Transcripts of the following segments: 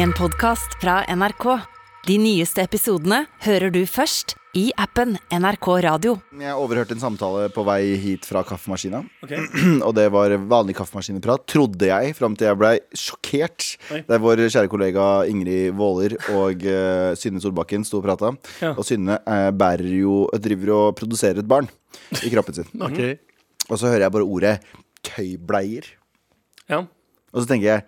En podcast fra NRK. De nyeste episodene hører du først i appen NRK Radio. Jeg overhørte en samtale på vei hit fra kaffemaskina. Ok, Og det var vanlig kaffemaskineprat, trodde jeg, fram til jeg blei sjokkert. Oi. Der vår kjære kollega Ingrid Våler og eh, Synne Solbakken sto og prata. Ja. Og Synne eh, bærer jo, driver og produserer et barn i kroppen sin. Mhm. Ok. Og så hører jeg bare ordet tøybleier. ja. Og så tenker jeg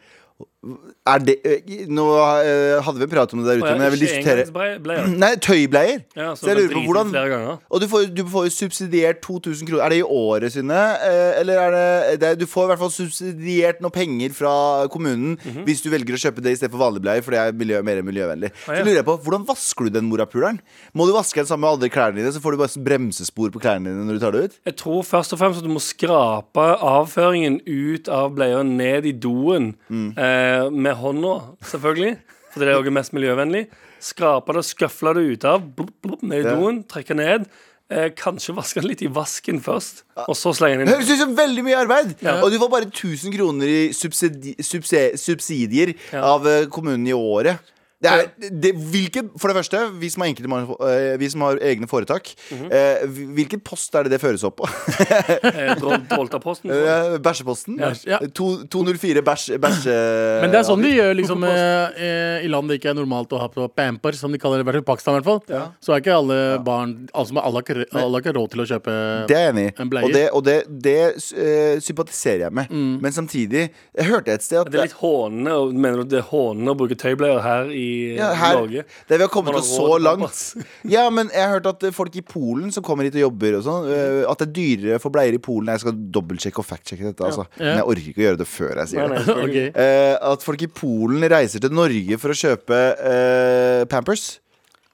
er det, eh, Nå eh, hadde vi en prat om det der ute, men jeg vil diskutere diskutere Nei, tøybleier. ja, altså, så så, jeg lurer på hvordan Flere ganger. Og du får, du får jo subsidiert 2000 kroner. Er det i året sine? Eh, Eller er det, det er- Du får i hvert fall subsidiert noe penger fra kommunen hvis du velger å kjøpe det istedenfor vanlig bleie, for det er miljø, mer miljøvennlig. Ah, Så ja. lurer jeg på, Hvordan vasker du den morapuleren? Må du vaske den sammen med alle klærne dine, så får du bare bremsespor på klærne dine når du tar det ut? Jeg tror først og fremst at du må skrape avføringen ut av bleia ned i doen Mm. eh, med hånda, selvfølgelig. For det er også mest miljøvennlig. Skrape det, skøfle det ut av, blup, blup, ned i Ja. doen, trekke ned. Eh, kanskje vaske den litt i vasken først, Ah. og så slenge den Det inn. høres ut som veldig mye arbeid! Ja. Og du får bare 1000 kroner i subsidi, subse- subsidier Ja. av eh, kommunen i året. Det er, det, hvilke, for det første, vi som, er enkeltmann- eh, vi som har egne foretak, Mhm. eh, hvil- hvilken post er det det føres opp på? Eh, dro- Droltaposten. Eh, Bæsjeposten? Bæsj, ja. To- 204 bæsj... bæsje- Men det er sånn de gjør liksom eh, eh, i land det ikke er normalt å ha på pamper, som de kaller det, i hvert fall i Pakistan i hvert fall. Så er ikke alle barn altså, Alle som har alle har ikke- alle har ikke råd til å kjøpe Det er jeg enig i. En bleie. Og det, og det, det eh, sympatiserer jeg med. Men samtidig jeg hørte et sted at Mm. Det er litt hånende, og mener du det er hånende å bruke tøybleier her i ja, her, Norge? det vi har kommet Man har oss råd så til langt. pass. Ja, men jeg har hørt at eh, folk i Polen som kommer hit og jobber og sånn, eh, at det er dyrere for bleier i Polen. Jeg skal dobbeltsjekke og factsjekke dette, altså. Men jeg orker ikke å gjøre det før jeg Nei, sier det. nei, selvfølgelig. Ok. Eh, at folk i Polen reiser til Norge for å kjøpe eh, Pampers.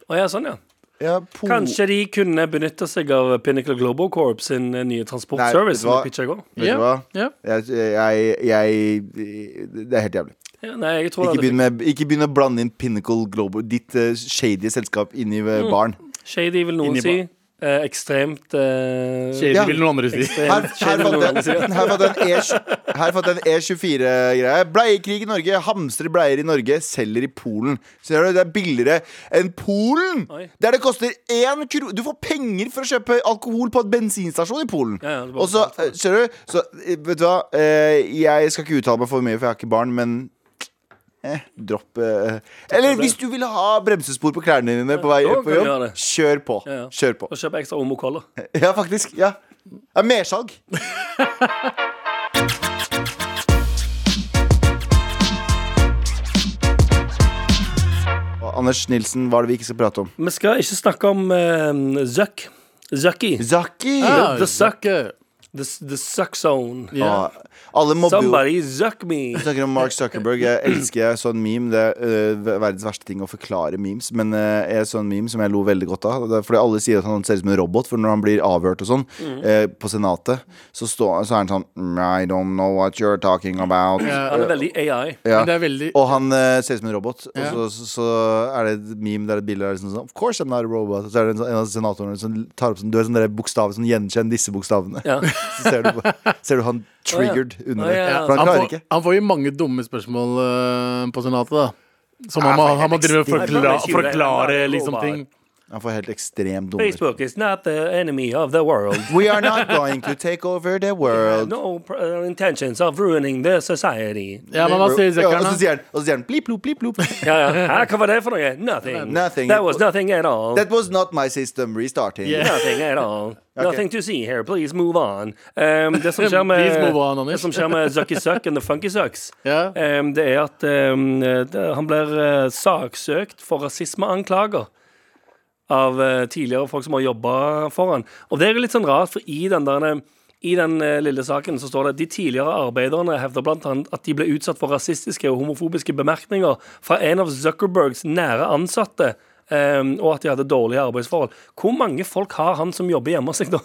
Å, ja, sånn, ja. Ja, Pol- Kanskje de kunne benytte seg av Pinnacle Global Corp sin eh, nye Nei, vet du transportservice. som hva? de pitchet i går. Vet Ja, du hva? ja. Jeg, jeg, jeg Det er helt jævlig. Ja, nei, jeg tror Ikke det begynn, med, ikke begynn å blande inn Pinnacle Global, ditt eh, shady selskap, inni Mm. uh, baren. Shady vil noen Inni si. Eh, ekstremt eh, Shady Ja. vil noen andre si. Her, her ekstremt shady vil fant noen andre si. jeg her fant jeg en E20 her fant jeg en E E24-greie. Bleiekrig i Norge. Hamstrer bleier i Norge, selger i Polen. Ser du, Det er billigere enn Polen! Oi. Der det koster én kro... Du får penger for å kjøpe alkohol på et bensinstasjon i Polen. Ja, ja, det var Og så, betalt eh, ser du Så, eh, vet du hva, eh, jeg skal ikke uttale meg for mye, for jeg har ikke barn, men Eh, dropp eh. Eller hvis du vil ha bremsespor på klærne dine på vei da på kan du jobb, gjøre det. kjør på. Ja, ja. Kjør på. Og kjøpe ekstra Omo Cola. Ja, faktisk. Ja. Det er mersalg. Og Anders Nilsen, hva er det vi ikke skal prate om? Vi skal ikke snakke om eh, Zuck. Zucky. Zaki! Ah, The Suck. Zucker. The, the Suck Zone. Ja. Ah, alle mobber jo Somebody Zuck me. Vi snakker om Mark Zuckerberg. Jeg elsker sånn meme. Det er øh, verdens verste ting å forklare memes, men øh, er sånn meme som jeg lo veldig godt av. Det er fordi alle sier at han ser ut som en robot, for når han blir avhørt og sånn Mm. øh, på Senatet, så, stå, så er han sånn "Mm, I don't know what you're talking about. Ja. Han er veldig AI. Ja. Men det er veldig Og han øh, ser ut som en robot. Ja. Og så, så, så er det et meme der et bilde er liksom sånn Of course I'm not a robot. Og så er det en, sånn- en av senatorene som tar opp sånn Du er sånn der bokstav sånn gjenkjenn disse bokstavene. Ja. Så ser du, på- ser du han triggered under Å, det. ja. For han han, klarer får, ikke. han får jo mange dumme spørmål eh, på Senatet, da. Som han må, han må drive og ekstremt. Nei, men det forklare, er forklare ikke det. liksom ting. Han får helt ekstremt dumme Facebook is not the enemy of the world. We are not going to take over the world. No pr- uh, intentions of ruining the society. Ja, men hva Ja, sier og Zuckeren, så da? sier han, og så sier han blip, blop, blip, blop. Ja, ja. Hæ, hva var det for noe? Nothing. Nothing. That was nothing at all. That was not my system restarting. Yeah. Nothing at all. Nothing to see here. Please move on. Um, det som skjer Please med, move on, Anders. det som skjer med Zucky Zuck and The Funky Sucks, Ja. um, det er at um, det, han blir uh, saksøkt for rasismeanklager. Av uh, tidligere folk som har jobba for han. Og det er jo litt sånn rart, for i den der i den eh, lille saken så står det at de tidligere arbeiderne hevder blant annet at de ble utsatt for rasistiske og homofobiske bemerkninger fra en av Zuckerbergs nære ansatte, eh, og at de hadde dårlige arbeidsforhold. Hvor mange folk har han som jobber hjemme hos seg, da?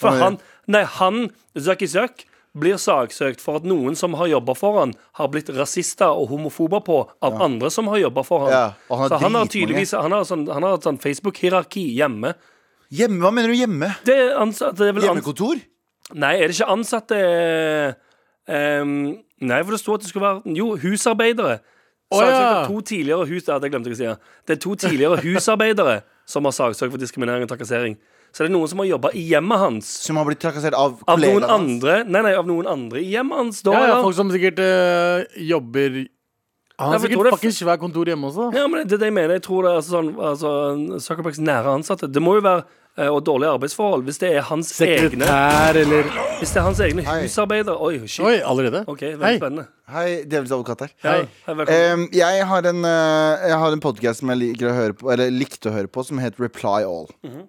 For han, nei, han, Zucky Zuck, blir saksøkt for at noen som har jobba for han, har blitt rasister og homofober på av andre som har jobba for han. Ja, og han har så han har dritmange. tydeligvis han har sånn, han har et sånn Facebook-hierarki hjemme. Hjemme, hva mener du hjemme? Det er ansatte, det er vel ansatte Hjemmekontor? Nei, er det ikke ansatte eh, ehm, Nei, for det sto at det skulle være Jo, husarbeidere. ja. Saksøkt av to tidligere hus ja, Det glemte jeg å si. ja. Det er to tidligere husarbeidere som har saksøkt for diskriminering og trakassering. Så det er noen som har jobba i hjemmet hans. Som har blitt trakassert av, Av noen kollegaene hans. andre Nei, nei, av noen andre i hjemmet hans. Da, Ja, ja, eller? folk som sikkert eh, jobber Han Ja, for jeg har tror sikkert det er fuckings svær kontor hjemme også. Ja, men det er det jeg mener. Jeg tror det er altså, sånn, altså, Zuckerbergs nære ansatte. Det må jo være eh, og dårlige arbeidsforhold hvis det er hans egne Sekretær eller Hvis det er hans egne Hei. husarbeidere. Oi, shit. Oi, allerede? OK, veldig Hei. spennende. Hei, djevelens advokat her. Ja, Hei. hei, velkommen. Em, jeg har en, eh, jeg har en podcast som jeg liker å høre på, eller likte å høre på, som heter Reply All. Mhm.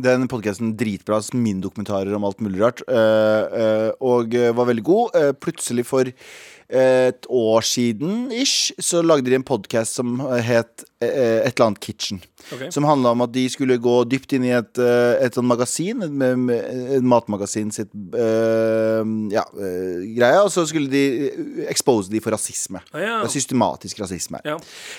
Den podcasten dritbra, minidokumentarer om alt mulig rart, eh, eh, og eh, var veldig god. Eh, plutselig for eh, et år siden, ish, så lagde de en podcast som het eh, et eller annet Kitchen. Ok. Som handla om at de skulle gå dypt inn i et, eh, et sånt magasin, et, med- med- et matmagasin sitt eh, ja, eh, greie, og så skulle de eh, expose de for rasisme. Ah, ja. Det er systematisk rasisme. her. Ja.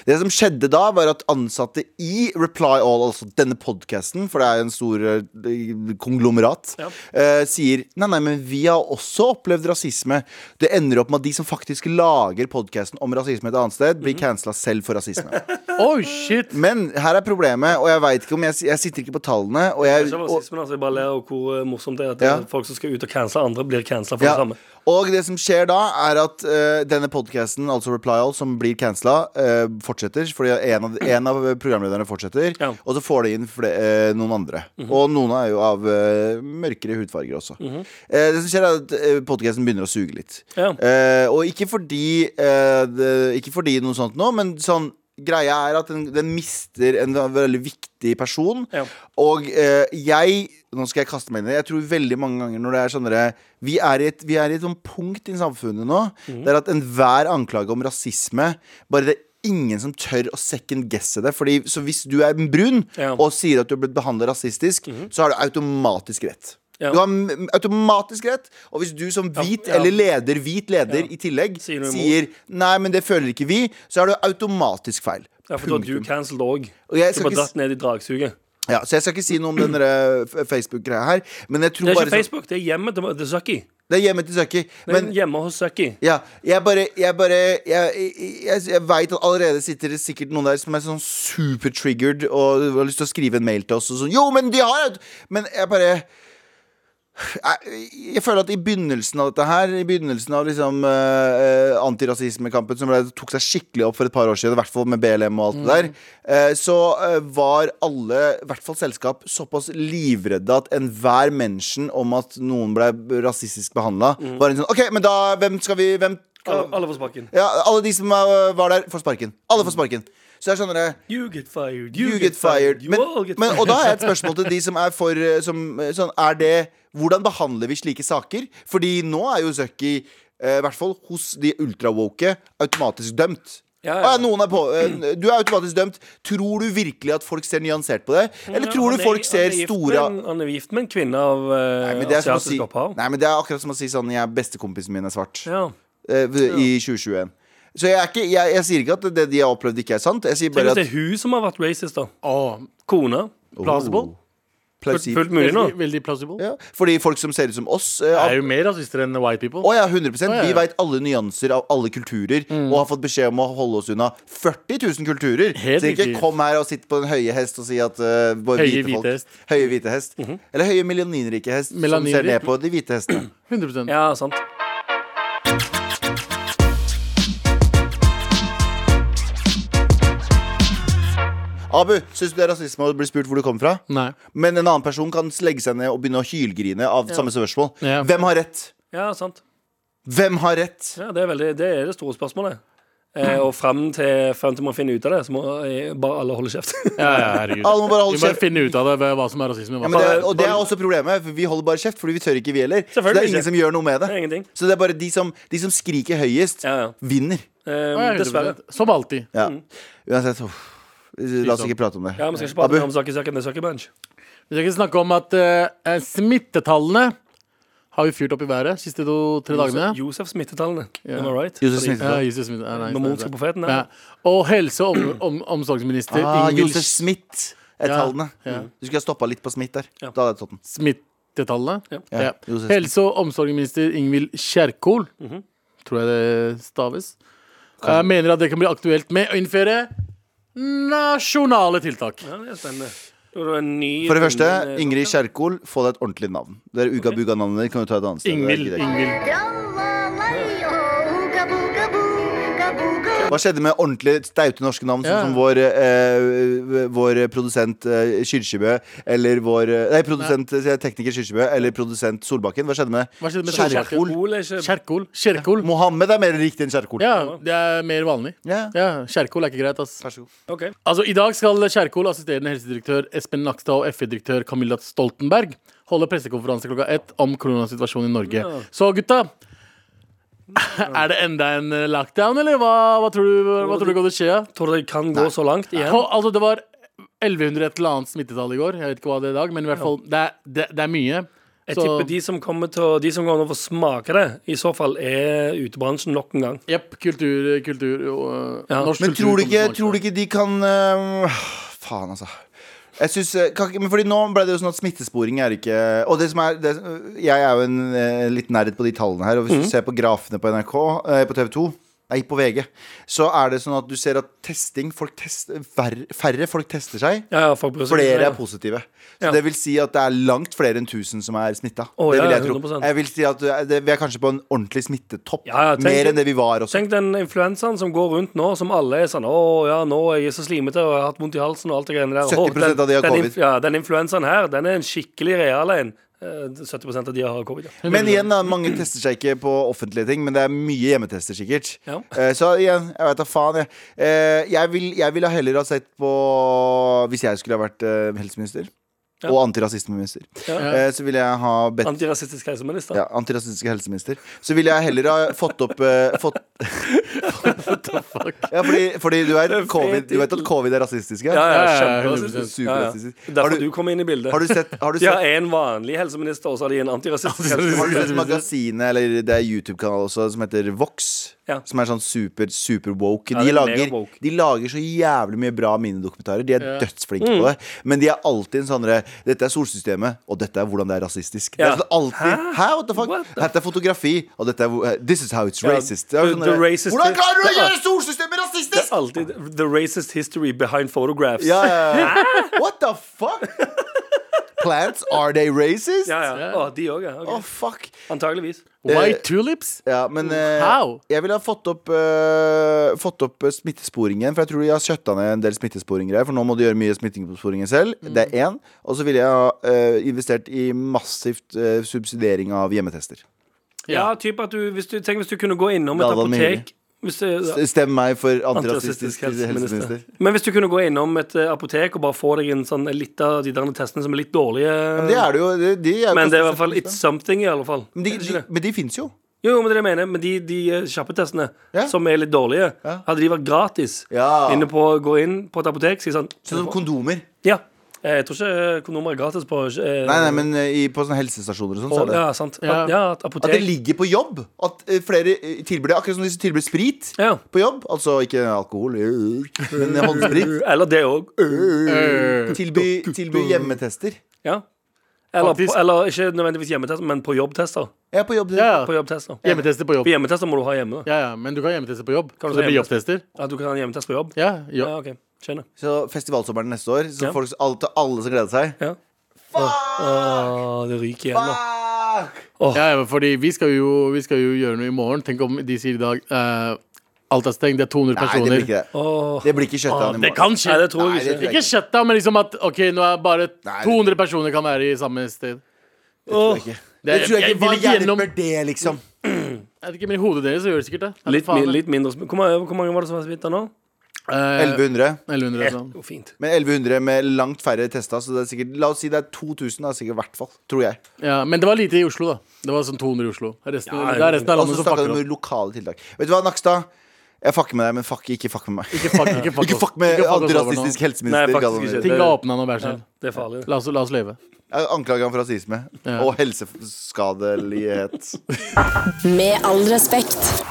Det som skjedde da, var at ansatte i Reply All, altså denne podkasten, for det er jo en stor eh, konglomerat, Ja. eh, sier nei, nei, men vi har også opplevd rasisme. Det ender opp med at de som faktisk lager podkasten om rasisme et annet sted, Mhm. blir cancela selv for rasisme. Oi, shit! Men her er problemet, og jeg veit ikke om jeg, jeg sitter ikke på tallene. Og Det er jeg, ikke og, rasismen, altså. Jeg bare ler av hvor eh, morsomt det er at Ja. eh, folk som skal ut og cancele andre, blir cancela for ja. det samme. Og det som skjer da, er at eh, denne podkasten, altså Reply All, som blir cancela, eh, fortsetter. Fordi en av, en av programlederne fortsetter, Ja. Mhm. og så får de inn fle- eh, noen andre. Og noen er jo av eh, mørkere hudfarger også. Eh, det som skjer, er at uh, podkasten begynner å suge litt. Ja. Eh, og ikke fordi eh, det, Ikke fordi noe sånt nå, men sånn Greia er at den, den mister en veldig viktig person. Ja. Og eh, jeg Nå skal jeg kaste meg inn i det. Jeg tror veldig mange ganger når det er sånne Vi er i et, vi er i et sånt punkt i samfunnet nå Mhm. der at enhver anklage om rasisme Bare det er ingen som tør å second guesse det. Fordi, så hvis du er brun Ja. Mhm. og sier at du har blitt behandla rasistisk, så har du automatisk rett. Ja. Du har m- automatisk rett. Og hvis du som hvit ja. eller leder, hvit leder Ja. i tillegg Sier noe sier, imot. 'nei, men det føler ikke vi', så er det automatisk feil. Ja, for da er du Punktum. cancelled òg. Og jeg Du skal bare ikke s- dratt ned i dragsuget. Ja, så jeg skal ikke si noe om den der, eh, Facebook-greia her. Men jeg tror Det er bare ikke sånn- Facebook, det er hjemmet til til Zucky. Det er hjemme til Zucky. Det er Men hjemme hos Zucky. ja, jeg bare Jeg, bare, jeg, jeg, jeg veit at allerede sitter det sikkert noen der som er sånn super-triggered og har lyst til å skrive en mail til oss og sånn Jo, men de har jo Men jeg bare jeg, jeg føler at i begynnelsen av dette her, i begynnelsen av liksom eh, eh, antirasismekampen som ble, tok seg skikkelig opp for et par år siden, i hvert fall med BLM og alt det der, eh, så eh, var alle, i hvert fall selskap, såpass livredde at enhver mention om at noen ble rasistisk behandla, var en sånn OK, men da hvem skal vi hvem, Alle, alle på spaken. ja, Alle de som eh, var der, får sparken. Alle får sparken. Så jeg skjønner det. You get fired, You get fired. You Men, all get men, fired. og da har jeg et spørsmål til de som er for eh, som, eh, sånn, Er det Hvordan behandler vi slike saker? Fordi nå er jo Zucky eh, i hvert fall hos de ultrawoke automatisk dømt. Ja, Å, ja. noen er på, eh, du er automatisk dømt. Tror du virkelig at folk ser nyansert på det? Eller Ja, tror du han er- folk han er ser gift store med en- Han er gift med en kvinne av eh, Nei, men det er, som å si, asiatisk opphav. nei, men det er akkurat som å si sånn Jeg bestekompisen min er svart Ja. eh, i 2021. Så jeg, er ikke, jeg, jeg sier ikke at det de har opplevd, ikke er sant. Jeg sier Tenk bare hvis det at er hun som har vært racist, da. Åh, Kona. plausible? Oh. plausibelt. Fullt mulig nå. Veldig, veldig plausible. Ja. Fordi folk som ser ut som oss eh, Det av- er jo mer rasister enn white people. Å ja, 100 ja, Mm. Vi ja. veit alle nyanser av alle kulturer og har fått beskjed om å holde oss unna 40 000 kulturer. Helt så ikke riktig. kom her og sitt på den høye hest og si at eh, bare hvite Høye hvite folk hest. Mhm. Høye hvite hest. Eller høye melaninrike hest, som ser Melaninrik. ned på de hvite hestene. 100 Ja, sant. Abu, syns du det er rasisme å bli spurt hvor du kommer fra? Nei. Men en annen person kan legge seg ned og begynne å hylgrine av samme spørsmål. Ja. Hvem har rett? Ja, sant. Hvem har rett? Ja, det, er veldig, det er det store spørsmålet. Eh, og frem til, frem til man finner ut av det, så må eh, bare alle holde kjeft. Ja, ja, herregud. Alle må bare Vi holde må kjeft. finne ut av det, hva som er rasisme. Ja, Hva. men det, er- og det er Bare- også problemet. for Vi holder bare kjeft, fordi vi tør ikke, vi heller. Så det Selvfølgelig er ingen ikke. som gjør noe med det. Det er ingenting. Så det er bare de som, de som skriker høyest, Ja, ja. vinner. Eh, Åh, ja, 100%. dessverre. Som alltid. Ja. Uansett, uff. la oss ikke prate om det. Ja, Vi skal Abu, ikke prate mer om Zucky Zucky, det er Zucky Bunch. Vi skal ikke snakke om at eh, eh, smittetallene har jo fyrt opp i været siste to-tre dagene. Josef smittetallene. Ja. Am I right? Josef Fordi- Smith. Ja, Jesus Smith. Ja, nei, Mormonske det er- profeten, ja. ja. Og helse- og om, om, omsorgsminister Ah, Ingvild Josef Smith er Ja, tallene. ja. Du skulle ha stoppa litt på Smith der. Ja. Da hadde jeg tatt den. Smittetallene. Ja. Ja, Josef Smith. Helse- og omsorgsminister Ingvild Kjerkol, tror jeg det staves, Jeg mener at det kan bli aktuelt med å innføre nasjonale tiltak. Ja, det er spennende. Det var en ny For det første, spennende- Ingrid Kjerkol, få deg et ordentlig navn. Det er ugabuga-navnet ditt kan du ta et annet sted. Det er Ingvild. ikke det. Ingvild. Tra-la-la-i-ho, ooga-booga-boo, ooga-booga-boo. Hva skjedde med ordentlig staute norske navn, sånn Ja. som vår, eh, vår produsent eh, Kyrkjebø, eller vår eh, Nei, produsent, eh, tekniker Kyrkjebø, eller produsent Solbakken. Hva skjedde med Hva skjedde med Kjerkol? Solbakken? Kjerkol er ikke Kjerkol. Kjerkol. Mohammed er mer riktig enn Kjerkol. Ja, det er mer vanlig. Ja. Ja, Kjerkol er ikke greit, ass. Vær så god. OK. Altså, I dag skal Kjerkol, assisterende helsedirektør Espen Nakstad og FE-direktør Camilla Stoltenberg holde pressekonferanse klokka ett om koronasituasjonen i Norge. Ja. Så gutta, er det enda en eh, lockdown, eller hva, hva tror du hva tror du kommer til å skje? Tror du det kan gå så langt igjen? Ko- Altså, det var 1100 et eller annet smittetall i går. Jeg vet ikke hva det er i dag, men i hvert fall, det er, det, det er mye. Jeg Så- tipper de som kommer til å, de som kommer til å få smake det, i så fall er utebransjen nok en gang. Jepp, kultur, kultur og, eh, Ja. norsk Men kultur tror du, kommer ikke, til å smake. tror du ikke de kan eh, Faen, altså. Jeg synes, eh, kan, ikke- men fordi Nå ble det jo sånn at smittesporing er ikke Og det som er det, Jeg er jo en eh, liten nerd på de tallene her. Og Mm. hvis du ser på grafene på NRK, eh, på TV 2 Nei, på VG. Så er det sånn at du ser at testing folk test, færre, færre folk tester seg. Ja, ja, folk bryr seg ikke. Flere er positive. Så Ja. det vil si at det er langt flere enn 1000 som er smitta. Å, det ja, vil jeg tro. 100%. Jeg vil si at det er- det, Vi er kanskje på en ordentlig smittetopp. Ja, ja, tenk- Mer enn det vi var også. Tenk den influensaen som går rundt nå, som alle er sånn Å ja, nå er jeg så slimete og jeg har hatt vondt i halsen og alt det greiene der. 70% av de har den, covid. Den, inf- ja, den influensaen her, den er en skikkelig real en. Eh, 70 av de har covid. Ja. Men igjen, da, mange tester seg ikke på offentlige ting, men det er mye hjemmetester, sikkert. Ja. Eh, Så igjen, jeg veit da faen, jeg. Eh, Jeg vil- jeg ville heller ha sett på Hvis jeg skulle ha vært eh, helseminister, Ja. og antirasismeminister, Ja. eh, så ville jeg ha bedt Antirasistisk helseminister. ja, antirasistiske helseminister. Så ville jeg heller ha fått opp eh, fått, ja, fordi, fordi du, er er COVID, du vet at fetid. covid er rasistiske? Ja, ja, Ja, ja, ja, kjemperasistisk. Ja, ja. Superrasistisk. Har Derfor du- du kom inn i bildet. Har du sett, har du de sett har en vanlig helseminister, og så har de en antirasistisk Har du helseminister. sett magasinet, eller det er YouTube-kanal også, som heter Vox? Ja. Som er sånn super, super woke. Ja, De, det er lager, mega woke. de lager så jævlig mye bra minidokumentarer. De er dødsflinke Mm. på det. Men de er alltid en sånn derre, Dette er solsystemet, og dette er hvordan det er rasistisk. Det Ja. er sånn alltid Hæ, what the fuck? What the- Dette er fotografi, og dette er hvor- This is how it's Ja, racist. Det er the- sånn the derre, racist- hvordan klarer du å det er- gjøre solsystemet Det rasistisk?! er alltid the racist history behind photographs. Ja, ja, ja. What the fuck? Plants, are they racist? ja, ja. Å, de òg, ja. Oh, ok. fuck. Antageligvis. Eh, White tulips? Ja, men Oh, eh, How? jeg ville ha fått opp, eh, fått opp eh, smittesporingen. For jeg tror de har kjøtta ned en del smittesporinggreier. For nå må de gjøre mye smittesporingen selv. Det Mm. er én. Og så ville jeg ha eh, investert i massivt eh, subsidiering av hjemmetester. Ja, typ at du, hvis du, tenk hvis du kunne gå innom et Da hadde han apotek hvis du, ja. S- Stem meg for antirasistisk Antirasistisk helseminister. helseminister. Men hvis du kunne gå innom et eh, apotek og bare få deg en sånn en litt av de der testene som er litt dårlige Men Det er det jo. De, de er jo det er i hvert fall it's something, i alle fall. Men de, de, men de fins jo. Jo, jo, men det er det jeg mener. Men de, de eh, kjappe testene Ja. som er litt dårlige, Ja. hadde de vært gratis Ja. inne på, gå inn på et apotek, si sånn Sånn som kondomer. Ja. Eh, Jeg tror ikke eh, kondomer er gratis på eh, Nei, nei, men eh, i, på sånne helsestasjoner og sånn. så på, er det- Ja, sant. Ja. At, ja, at At det apotek ligger på jobb. At eh, flere eh, tilbyr det. Akkurat som de som tilbyr sprit Ja. på jobb. Altså ikke alkohol, men håndsprit. Eller det òg. Tilby, tilby hjemmetester. Ja. Eller, Faktisk. på, eller ikke nødvendigvis hjemmetester, men på jobbtester. Jeg er på jobb. Ja, På jobbtester. Hjemmetester på jobb. På hjemmetester må du ha hjemme. da Ja, ja, men du kan ha hjemmetester på jobb. Kan du så det ha blir hjemmetester? jobbtester? At du kan ha en hjemmetest på jobb? Ja, jo. Ja, ok, skjønner Så festivalsommeren neste år. Så Ja. folk, alle, til alle som gleder seg. ja. Åh, det ryker igjen da Fuck! Ja, ja, fordi vi skal, jo, vi skal jo gjøre noe i morgen. Tenk om de sier i dag eh, alt er stengt, det er 200 Nei, det personer. blir ikke det. Åh, Det blir ikke kjøttdeig i Det morgen. kan skje. Nei, det tror Nei, jeg det ikke tror jeg ikke shutdown, men liksom at OK, nå er bare Nei, 200 personer kan være i samme sted. Det tror jeg ikke. Det tror jeg jeg ikke. Hva vil ikke gjennom- hjelper det, liksom? Jeg vet ikke, men I hodet deres så gjør det sikkert det. Ja, litt, faen, min, det. litt mindre sm- hvor mange, hvor mange var det som var smittet nå? Eh, Eh, 1100. 1100 sånn. Jo, fint Men 1100 med langt færre testa, så det er sikkert La oss si det er 2000, da, sikkert i hvert fall. Tror jeg. Ja, men det var lite i Oslo, da. Det var sånn 200 i Oslo. Resten, Ja, det er resten av Og så landet som snakka du fucker opp. Altså, om lokale tiltak. Vet du hva, Nakstad? Jeg fucker med deg, men fuck, ikke fuck med meg. Ikke fuck, ikke fuck, Ikke oss. fuck med Ikke fuck oss over nå. antirasistisk Nei, helseminister. faktisk Galvan. ikke. Ting er åpna nå, vær så ja, snill. Det er farlig det. La, oss- la oss leve. Jeg anklager ham for rasisme Ja. og helseskadelighet. Med all respekt.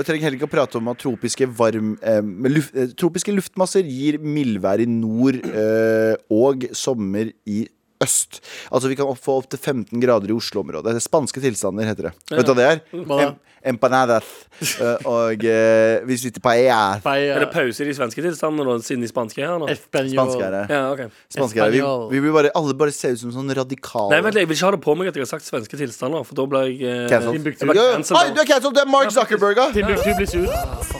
Jeg trenger heller ikke å prate om at tropiske, varm, eh, luft, eh, tropiske luftmasser gir mildvær i nord eh, og sommer i øst. Altså vi kan opp, få opptil 15 grader i Oslo-området. Det er Spanske tilstander heter det. Vet du hva det er? Hva da? Em- Empanadas. Eh, Og eh, vi sitter på ER. Bei, Er det pause i de svenske tilstandene da, siden de spanske er her nå? eh, Spanske er det. Ja, ok Spanske er det. Vi, Espanol. vi blir bare, alle bare ser ut som sånn radikale. Nei, vent litt, jeg vil ikke ha det på meg at jeg har sagt svenske tilstander, for da ble jeg eh, Cancelled. jeg ble Ja, ja. cancelled. Oi, du er cancelled! Du er Mark Zuckerberg, da! Timbuktu blir sur. Ah,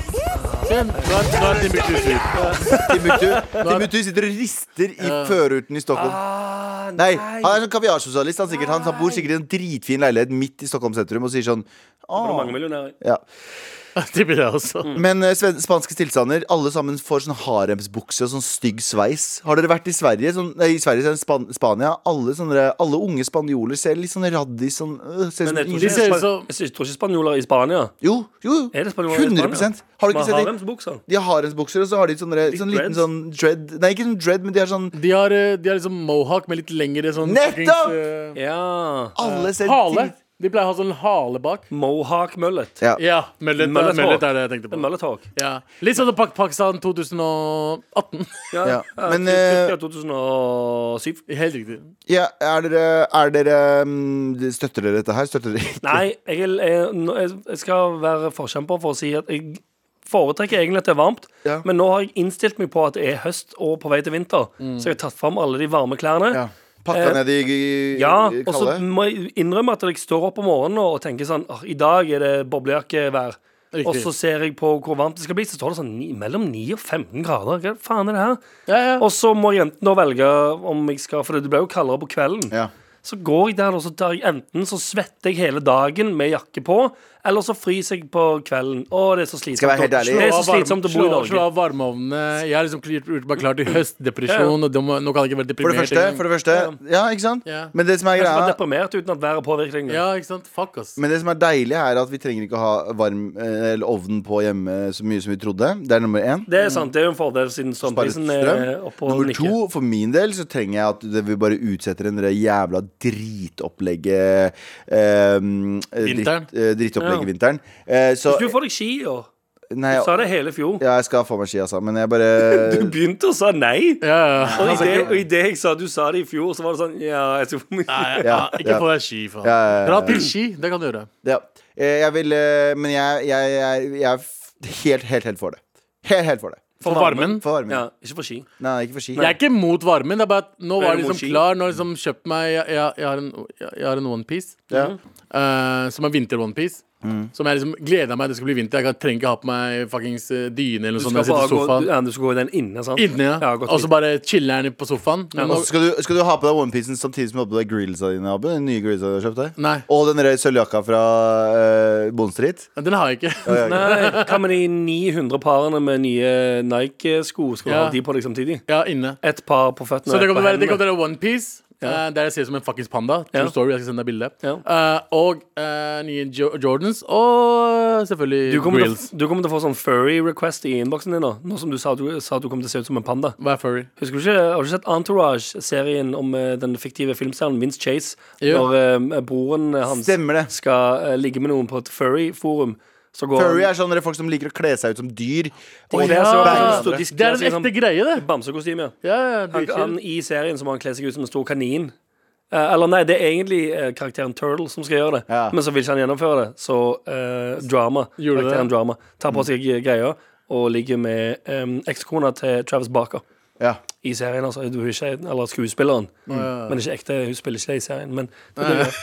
Se, nå er- nå er Timbuktu sur. Timbuktu. Timbuktu sitter og rister i førorten i Stockholm. Ah, Nei, han er sånn kaviarsosialist. Han, sikkert, han han bor sikkert i en dritfin leilighet midt i Stockholm sentrum og sier sånn Det er «Åh». mange millionærer. ja. Det blir det også. Men eh, sven spanske tilstander, alle sammen får sånn haremsbukse og sånn stygg sveis. Har dere vært i Sverige? Sånn, nei, i Sverige, sånn Span Spania. Alle, sånne, alle unge spanjoler ser litt sånn raddis sånn, øh, ser ut som Men jeg tror ikke, De ingen- ser ut span- som- jeg synes- tror ikke spanjoler i Spania Jo, jo. Er det spanjoler i 100 Spania? Har du ikke sett det? haremsbukser. De har haremsbukser, og så har de sånne, sånn liten dreads? sånn dread Nei, ikke sånn dread, men de har sånn De har, eh, de har liksom mohawk med litt lengre sånn Nettopp! fuckings, eh, Ja. Alle ser Hale. De pleier å ha sånn hale bak. Mohawk mullet. Ja. Ja, mullet, Mullet mullet hår. er det jeg tenkte på. Mullet hawk. Ja. Litt sånn som Pak- Pakistan 2018. Ja. Ja, men, eh, Tyrkia 2007. Helt riktig. Ja, er dere, er dere mm, Støtter dere dette her? Støtter dere ikke? Nei, jeg, er- jeg, nå- jeg jeg skal være forkjemper for å si at jeg foretrekker egentlig at det er varmt, Ja. men nå har jeg innstilt meg på at det er høst og på vei til vinter, Mm. så jeg har tatt fram alle de varme klærne. Ja. Pakka Eh, ned i, i, Ja, i og så kalde? må jeg innrømme at jeg står opp om morgenen og tenker sånn «Ah, I dag er det boblejakkevær. Riktig. Og så ser jeg på hvor varmt det skal bli, så står det sånn ni, mellom 9 og 15 grader. Hva faen er det her? Ja, ja. Og så må jeg enten da velge om jeg skal For det blir jo kaldere på kvelden. Ja. Så går jeg der, og så tar jeg enten så svetter jeg hele dagen med jakke på, eller så fryser jeg på kvelden. Å, det er så slitsomt. Skal jeg være helt ærlig? Det er Slå så av varme- slitsomt å bo i slå- Slå Norge. av varmeovnene. Jeg har liksom klart- gjort meg klar til høstdepresjon, og det må, nå kan jeg ikke være For det deprimert. første, engang. for det første Ja, ikke sant? Ja. Men det som er Jeg skal være greia deprimert uten at været påvirker deg. Ja, ikke sant? Fuck, ass. men det som er deilig, er at vi trenger ikke å ha varm eh, eller ovnen på hjemme så mye som vi trodde. Det er nummer én. Det er sant, det er jo en fordel siden Bare strømprisen er strøm. oppe eh, og Nummer nikker. to, for min del så trenger jeg at det- vi bare utsetter den der jævla dritopplegget eh, Vinteren. Dritt, eh, drittopplegget Ja. vinteren. Eh, så Hvis du får deg ski i år Nei, Du sa det hele i fjor. ja, jeg skal få meg ski, altså. Men jeg Du bare begynte og sa nei. Ja, ja, Og Altså, ja. i det, og i det jeg sa du sa det i fjor, så var det sånn Ja, jeg skal få meg ski. Nei, Ja, ja, ja. ikke få deg ski, faen. Ja, ja, ja. Dra til ski, det kan du gjøre. Ja. Eh, Jeg vil eh, Men jeg, jeg, jeg, jeg er f- helt, helt, helt for det. Helt, helt for det. For varmen. Sånn For varmen. Ja, ikke for ski. Nei, ikke for ski. Jeg er ikke mot varmen. Det er bare at nå Men er du var jeg mot liksom ski? klar. Nå har jeg liksom kjøpt meg Jeg, jeg, jeg har en, jeg, jeg har en onepiece. Ja. Mhm. eh, som er vinter-onepiece. Som jeg liksom gleder meg det skal bli vinter. Jeg kan- trenger ikke ha på meg fuckings eh, dyne eller Du noe skal, sånt når jeg bare sitter gå, i du, sofaen. ja, du skal gå i den inne, sant? Inne, ja. ja og så bare chiller'n på sofaen. Men Og nå, så skal, du- skal du ha på deg onepiecen samtidig som du har på deg grillsa dine? Abu, Den nye grillsa du har kjøpt deg? Nei. Og den der sølvjakka fra eh, Bond Street? den har jeg ikke. Nei, hva med de 900 parene med nye Nike-sko? Skal du Ja. ha de på deg samtidig? Ja, inne. Et par på føttene. Så det et på kommer til å være- hendene. det kommer til å være onepiece. Ja. der jeg ser ut som en fuckings panda. True Ja. story, jeg skal sende deg bilde. Ja. Eh, og eh, nye jo Jordans. Og eh, selvfølgelig du kommer, til, grills. å- du kommer til å få sånn furry request i innboksen din nå. Nå som du sa du, sa du kom til å se ut som en panda. Hva er furry? Husker du ikke, Har du sett Entourage-serien om eh, den fiktive filmstjernen Vince Chase? Jo. Når eh, broren hans Stemmer det. skal eh, ligge med noen på et furry-forum. Så går Furry han er sånne folk som liker å kle seg ut som dyr. Og det ja. er så Bang. han står og Det er diskuterer en seg som ekte greie, det. bamsekostyme. ja. Ja, ja, Han, han, dritchill. I serien så må han kle seg ut som en stor kanin. Eh, eller nei, det er egentlig eh, karakteren Turtle som skal gjøre det. Ja. Men så vil ikke han gjennomføre det, så eh, drama. Gjorde det? Karakteren drama Tar på seg greia og ligger med um, ekskona til Travis Barker. Ja. I serien, altså. Du er ikke, eller skuespilleren. Men ikke ekte. Hun spiller ikke det i serien. Men det er det.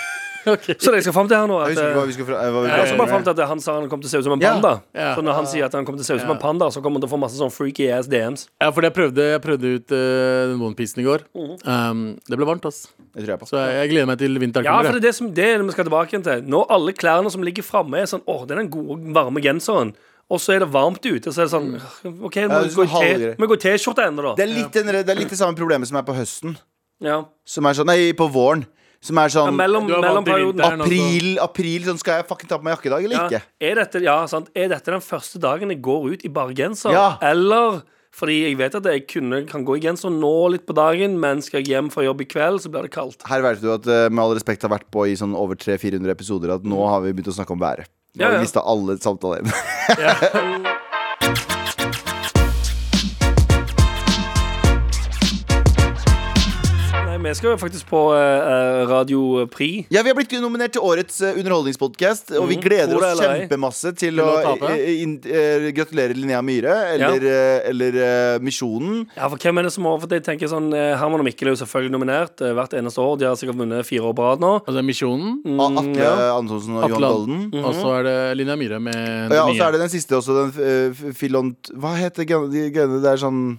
Så det jeg skal fram til her nå Jeg at, husker ikke hva eh, vi skulle fra, hva vi jeg pratet skal bare fram om. til at han sa han kom til å se ut som en Ja, panda. ja. Så når han sier at han kommer til å se ut som en panda, så kommer han til å få masse sånn freaky ass DMs. Ja, fordi jeg prøvde, jeg prøvde ut eh, den onepiecen i går. Um, det ble varmt, ass. Det tror jeg på. Så jeg, jeg gleder meg til vinteren Ja, for det kommer. er det, som, det er det vi skal tilbake igjen til. Når alle klærne som ligger framme, er sånn Åh, det er den gode, varme genseren. Og så er det varmt ute, så er det sånn OK, det må er vi gå i sånn T- halvgreier. må vi gå i T-skjorte ennå, Det da. er litt, den der- det er litt det samme problemet som er på høsten. Ja. Som er sånn, nei, på våren. Som er sånn Mellom, Du er vant mellom til perioden. vinteren. april, april, sånn skal jeg fucking ta på meg jakke i dag, eller Ja, ikke? er, dette, ja, sant? er dette den første dagen jeg går ut i bare genser? Ja. Eller fordi jeg vet at jeg kunne, kan gå i genser nå litt på dagen, men skal jeg hjem fra jobb i kveld, så blir det kaldt. Her vet du at eh, med all respekt har vært på i sånn over 300-400 episoder at nå har vi begynt å snakke om været. Nå Ja, har ja. vi mista alle samtaler. Nei, Nei, vi skal jo faktisk på eh, eh, Radio Prix. Ja, Vi har blitt nominert til årets eh, underholdningspodkast, og vi gleder Tror det oss eller ei. kjempemasse til Til å å tape. eh, inn- eh, gratulere Linnea Myhre eller, eh, eller eh, Misjonen. Ja, for hvem er det som har For jeg tenker sånn eh, Herman og Mikkel er jo selvfølgelig nominert eh, hvert eneste år. De har sikkert vunnet fire år på rad nå. Altså Misjonen, A- Atle ja. Antonsen og Atle Johan Golden. og så er det Linnea Myhre med Ja, og nye. så er det den siste også, den eh, f- filont... Hva heter gre- de greiene der sånn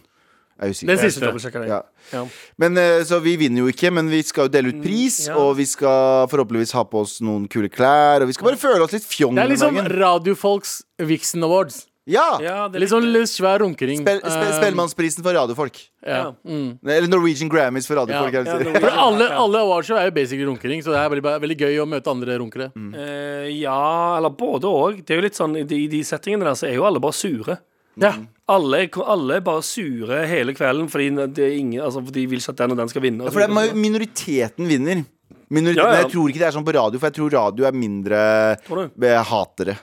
Jeg er Den usikker. siste dobbeltsjekker jeg. Ja. Ja. Men, eh, så vi vinner jo ikke, men vi skal jo dele ut pris, ja. og vi skal forhåpentligvis ha på oss noen kule klær, og vi skal bare føle oss litt fjong Det er om liksom dagen. radiofolks Vixen Awards. Ja! Ja, det er Litt sånn løs, svær runkering. Spel, spe, Eh, spellemannsprisen for radiofolk. ja. Ja. Mm. Nei, Eller Norwegian Grammys for radiofolk. Ja, jeg vil ja, si. Norwegian. For alle, alle awardshow er jo basically runkering, så det er veldig, veldig gøy å møte andre runkere. Mm. Eh, ja, eller både òg. Det er jo litt sånn I de, i de settingene der så er jo alle bare sure. Ja. Alle, er- alle er bare sure hele kvelden fordi det er ingen, altså, for de vil ikke at den og den skal vinne. Altså, og For det så er videre. ma- minoriteten vinner. Minoriteten, Ja, ja. Jeg tror ikke det er sånn på radio, for jeg tror radio er mindre Tror du? eh, hatere.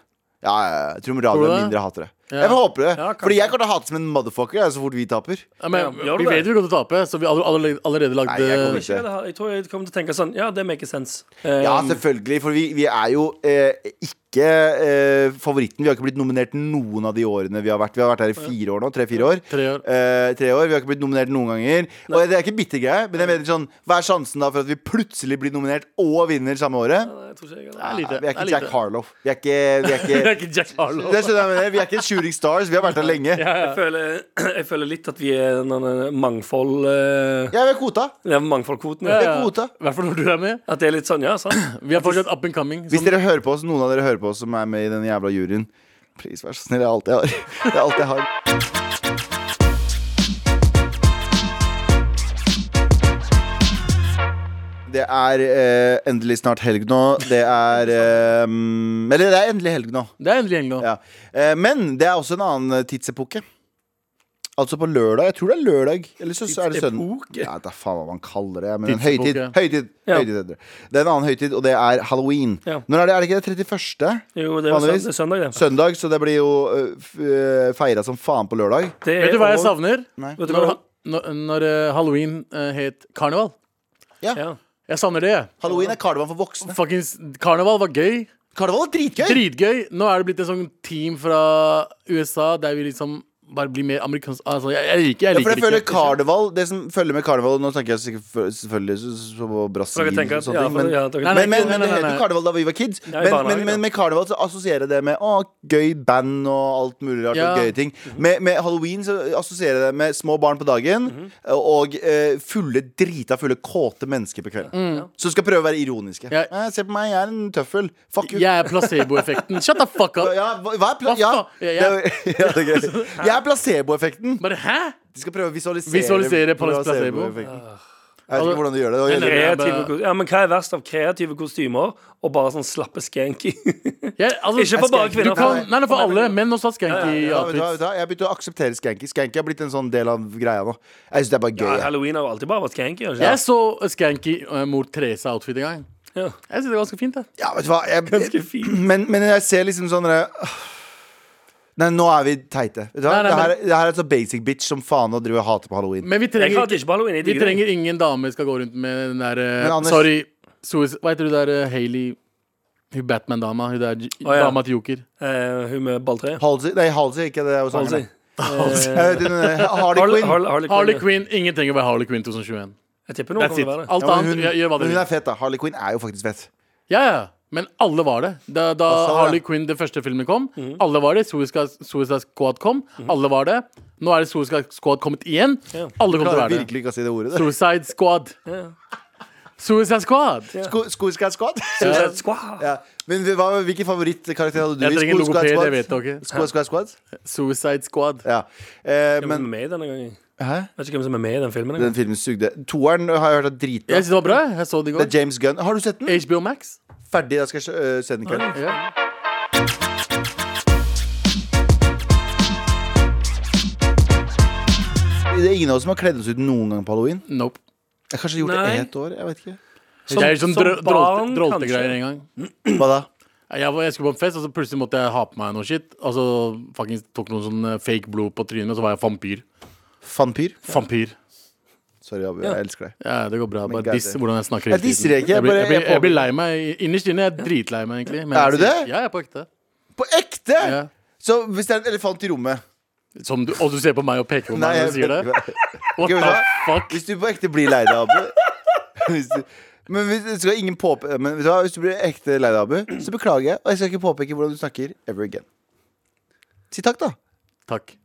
Ja, ja, ja. jeg tror radio Tror du er det? mindre hatere. Ja. Jeg håper det. Ja, kanskje. Fordi jeg kommer til å hate som en motherfucker jeg, så fort vi taper. Ja, men, Ja, gjør vi du det? vet jo vi kommer til å tape, så vi har allerede, allerede Nei, lagde jeg kommer Ikke det her. jeg tror jeg kommer til å tenke sånn Ja, det makes sense. Eh, Ja, Ehm, selvfølgelig, for vi, vi er jo eh, ikke eh, favoritten. Vi har ikke blitt nominert noen av de årene vi har vært. Vi har vært her i fire år nå. Tre-fire år. Tre år. Eh, tre år. Vi har ikke blitt nominert noen ganger. Og det er ikke bitter greie, men jeg mener sånn, hva er sjansen da for at vi plutselig blir nominert og vinner samme året? jeg tror ikke jeg Det har er det. lite. Vi er ikke det er Jack lite. Harlow. Vi er ikke, vi er Det ikke er ikke Jack Harlow. Det skjønner jeg mener. Vi er ikke Shooting Stars. Vi har vært her lenge. Ja, Jeg føler, jeg føler litt at vi er en annen mangfold eh, vi er kvota. Det er mangfoldkvoten. Vi ja. er kvota. I hvert fall når du er med. At det er litt sånn, ja, sant? Vi er fortsatt up and coming. sånn. Hvis Som, dere hører på oss, noen av dere hører på oss som er med i den jævla juryen, please, vær så snill. Det er alt jeg har. Det er alt jeg har. Det er eh, endelig snart helg nå. Det er eh, mm, Eller det er endelig helg nå. det er endelig gjeng nå. Ja. Eh, men det er også en annen eh, tidsepoke. Altså på lørdag. Jeg tror det er lørdag. Eller så, så er det søndag. Tidsepoke? Ja, det er faen hva man kaller det. Men en Tidsepoke. høytid. Høytid. Ja. høytid heter det. det er en annen høytid, og det er halloween. Ja. Når er det? Er det ikke det 31.? Jo, det er jo søndag, Vanligvis. det er søndag, det. Søndag, så det blir jo eh, f- eh, feira som faen på lørdag. det er Vet du hva jeg også- savner? Nei. Vet du Når, hva? når, når eh, halloween eh, het karneval. Ja. Jeg savner det. jeg. Halloween er karneval for voksne. Fuckings karneval var gøy. Karneval er dritgøy! Dritgøy. Nå er det blitt et sånt team fra USA der vi liksom bare blir mer amerikansk Altså, jeg, jeg liker Ja, jeg for liker jeg føler det ikke. karneval Det som følger med karneval Nå tenker jeg sikkert- selvfølgelig så- så- så på Så Brasil dere tenker og at sånne ja, ting, for, men ja, dere, Nei, Men, men, men nei, nei, det het nei, jo nei. karneval da vi var kids. Ja, i Men, barnehagen, men, men ja. med karneval så assosierer jeg det med å, gøy band og alt mulig rart. Ja. Og gøye ting med, med halloween så assosierer jeg det med små barn på dagen Mhm. og eh, fulle, drita fulle, kåte mennesker på kvelden. Så du skal prøve å være ironiske. Mm. Ja. Eh, se på meg, jeg er en tøffel. Fuck you. Jeg er placeboeffekten. Shut the fuck up! Ja, hva hva er pla Hva ja. faen? Ja, det er- ja, det er gøy. Jeg er placeboeffekten. Bare hæ? De skal prøve å visualisere, Visualisere placebo. placeboeffekten. Jeg vet Altså- ikke hvordan de gjør det. Ah. det. var Eller- jævlig- kreative, ko- ja, men hva er verst av kreative kostymer og bare sånn slappe skanky? Jeg, altså, Ikke for bare kvinner. Du kan, nei, nei, for alle. Menn også har skanky Ja, vet du, hva, vet outfits. du, hva, jeg har begynt å akseptere skanky. Skanky har blitt en sånn del av greia nå. Jeg synes det er bare gøy. Ja, jeg. Halloween har jo alltid bare vært skanky. har det Jeg ikke? så skanky eh, mor Therese-outfit en gang. Ja. Jeg synes det er ganske fint. det Ja, vet du hva jeg, Ganske fint. men, men jeg ser liksom sånn der, Nei, nå er vi teite. Vet du hva? Nei, nei, det, her, er- det her er så basic bitch som faen å drive og hate på halloween. Men vi Jeg trenger, hater ikke på halloween. Jeg vi digger det. trenger ingen dame skal gå rundt med den der eh, Men Anders- Sorry. Suicide, hva heter hun der uh, Hailey Hun Batman-dama. Hun der j- ja. dama til Joker. Eh, Hun med balltre. Halsey Nei, Halsey, ikke det. hos Halsey. Eh, sangerne. Jeg vet ikke, den der Harley Quinn. Harley, Harley, Harley Quinn. Quinn. Ingen trenger å være Harley Quinn 2021. Jeg tipper noen That's kommer it. til å være det. Alt Ja, men annet, gjør- gjør hva hun, dere hun vil. er fet, da. Harley Quinn er jo faktisk fett. Ja, ja. Men alle var det. Da, da Altså, ja. Mhm. Harley Quinn, det første filmen, kom, alle var det. Suicide Suicide Squad kom, alle var det. Nå er det Suicide Squad kommet igjen. Alle kommer til å Klarer være det. virkelig ikke å si det ordet. der. Suicide Squad. Suicide Squad. Sko- Skoskad Squad? Suicide Squad. Ja. Men hva, hvilken favorittkarakter hadde du? Jeg i trenger en Skoskad logoped, Squad? jeg vet dere. Skoskad Squad? Suicide Squad. Ja. Eh, Hvem er men med i denne gangen? Hæ? Vet ikke hvem som er med i den filmen. Den engang. filmen sugde. Toeren har jeg hørt er dritbra. Jeg synes det var bra. Jeg så det i Det går. er James Gunn. Har du sett den? HBO Max. Ferdig, da skal jeg øh, se den i kveld. Ja. Det er ingen av oss som har kledd oss ut noen gang på halloween. Nope. Jeg har kanskje gjort Nei. det ett år. Jeg vet ikke. Som- jeg er sånn som drø- barn, drolte- droltegreier kanskje. en gang. Hva da? Jeg, var, jeg skulle på en fest, og så plutselig måtte jeg ha på meg noe shit. Og så fucking tok noen sånn eh, fake blod på trynet, og så var jeg vampyr. Vampyr? Vampyr. Sorry, Abu. Jeg elsker deg. Ja, det går bra. Men Bare God diss damn. hvordan jeg snakker. Jeg hele tiden. disser ikke, jeg Jeg, blir- bare- jeg, blir- jeg jeg blir lei meg innerst inne. Jeg er dritlei meg, egentlig. men Er jeg du sier- det? Ja, jeg er på ekte. På ekte! Ja. Så hvis det er en elefant i rommet Som du, og du ser på meg og peker på meg og sier det? What Skal vi the ta- fuck? Hvis du på ekte blir lei deg, Abu hvis du, Men hvis, det skal ingen påpe, men vet du hva, hvis du blir ekte lei deg, Abu, så beklager jeg. Og jeg skal ikke påpeke hvordan du snakker ever again. Si takk, da. Takk.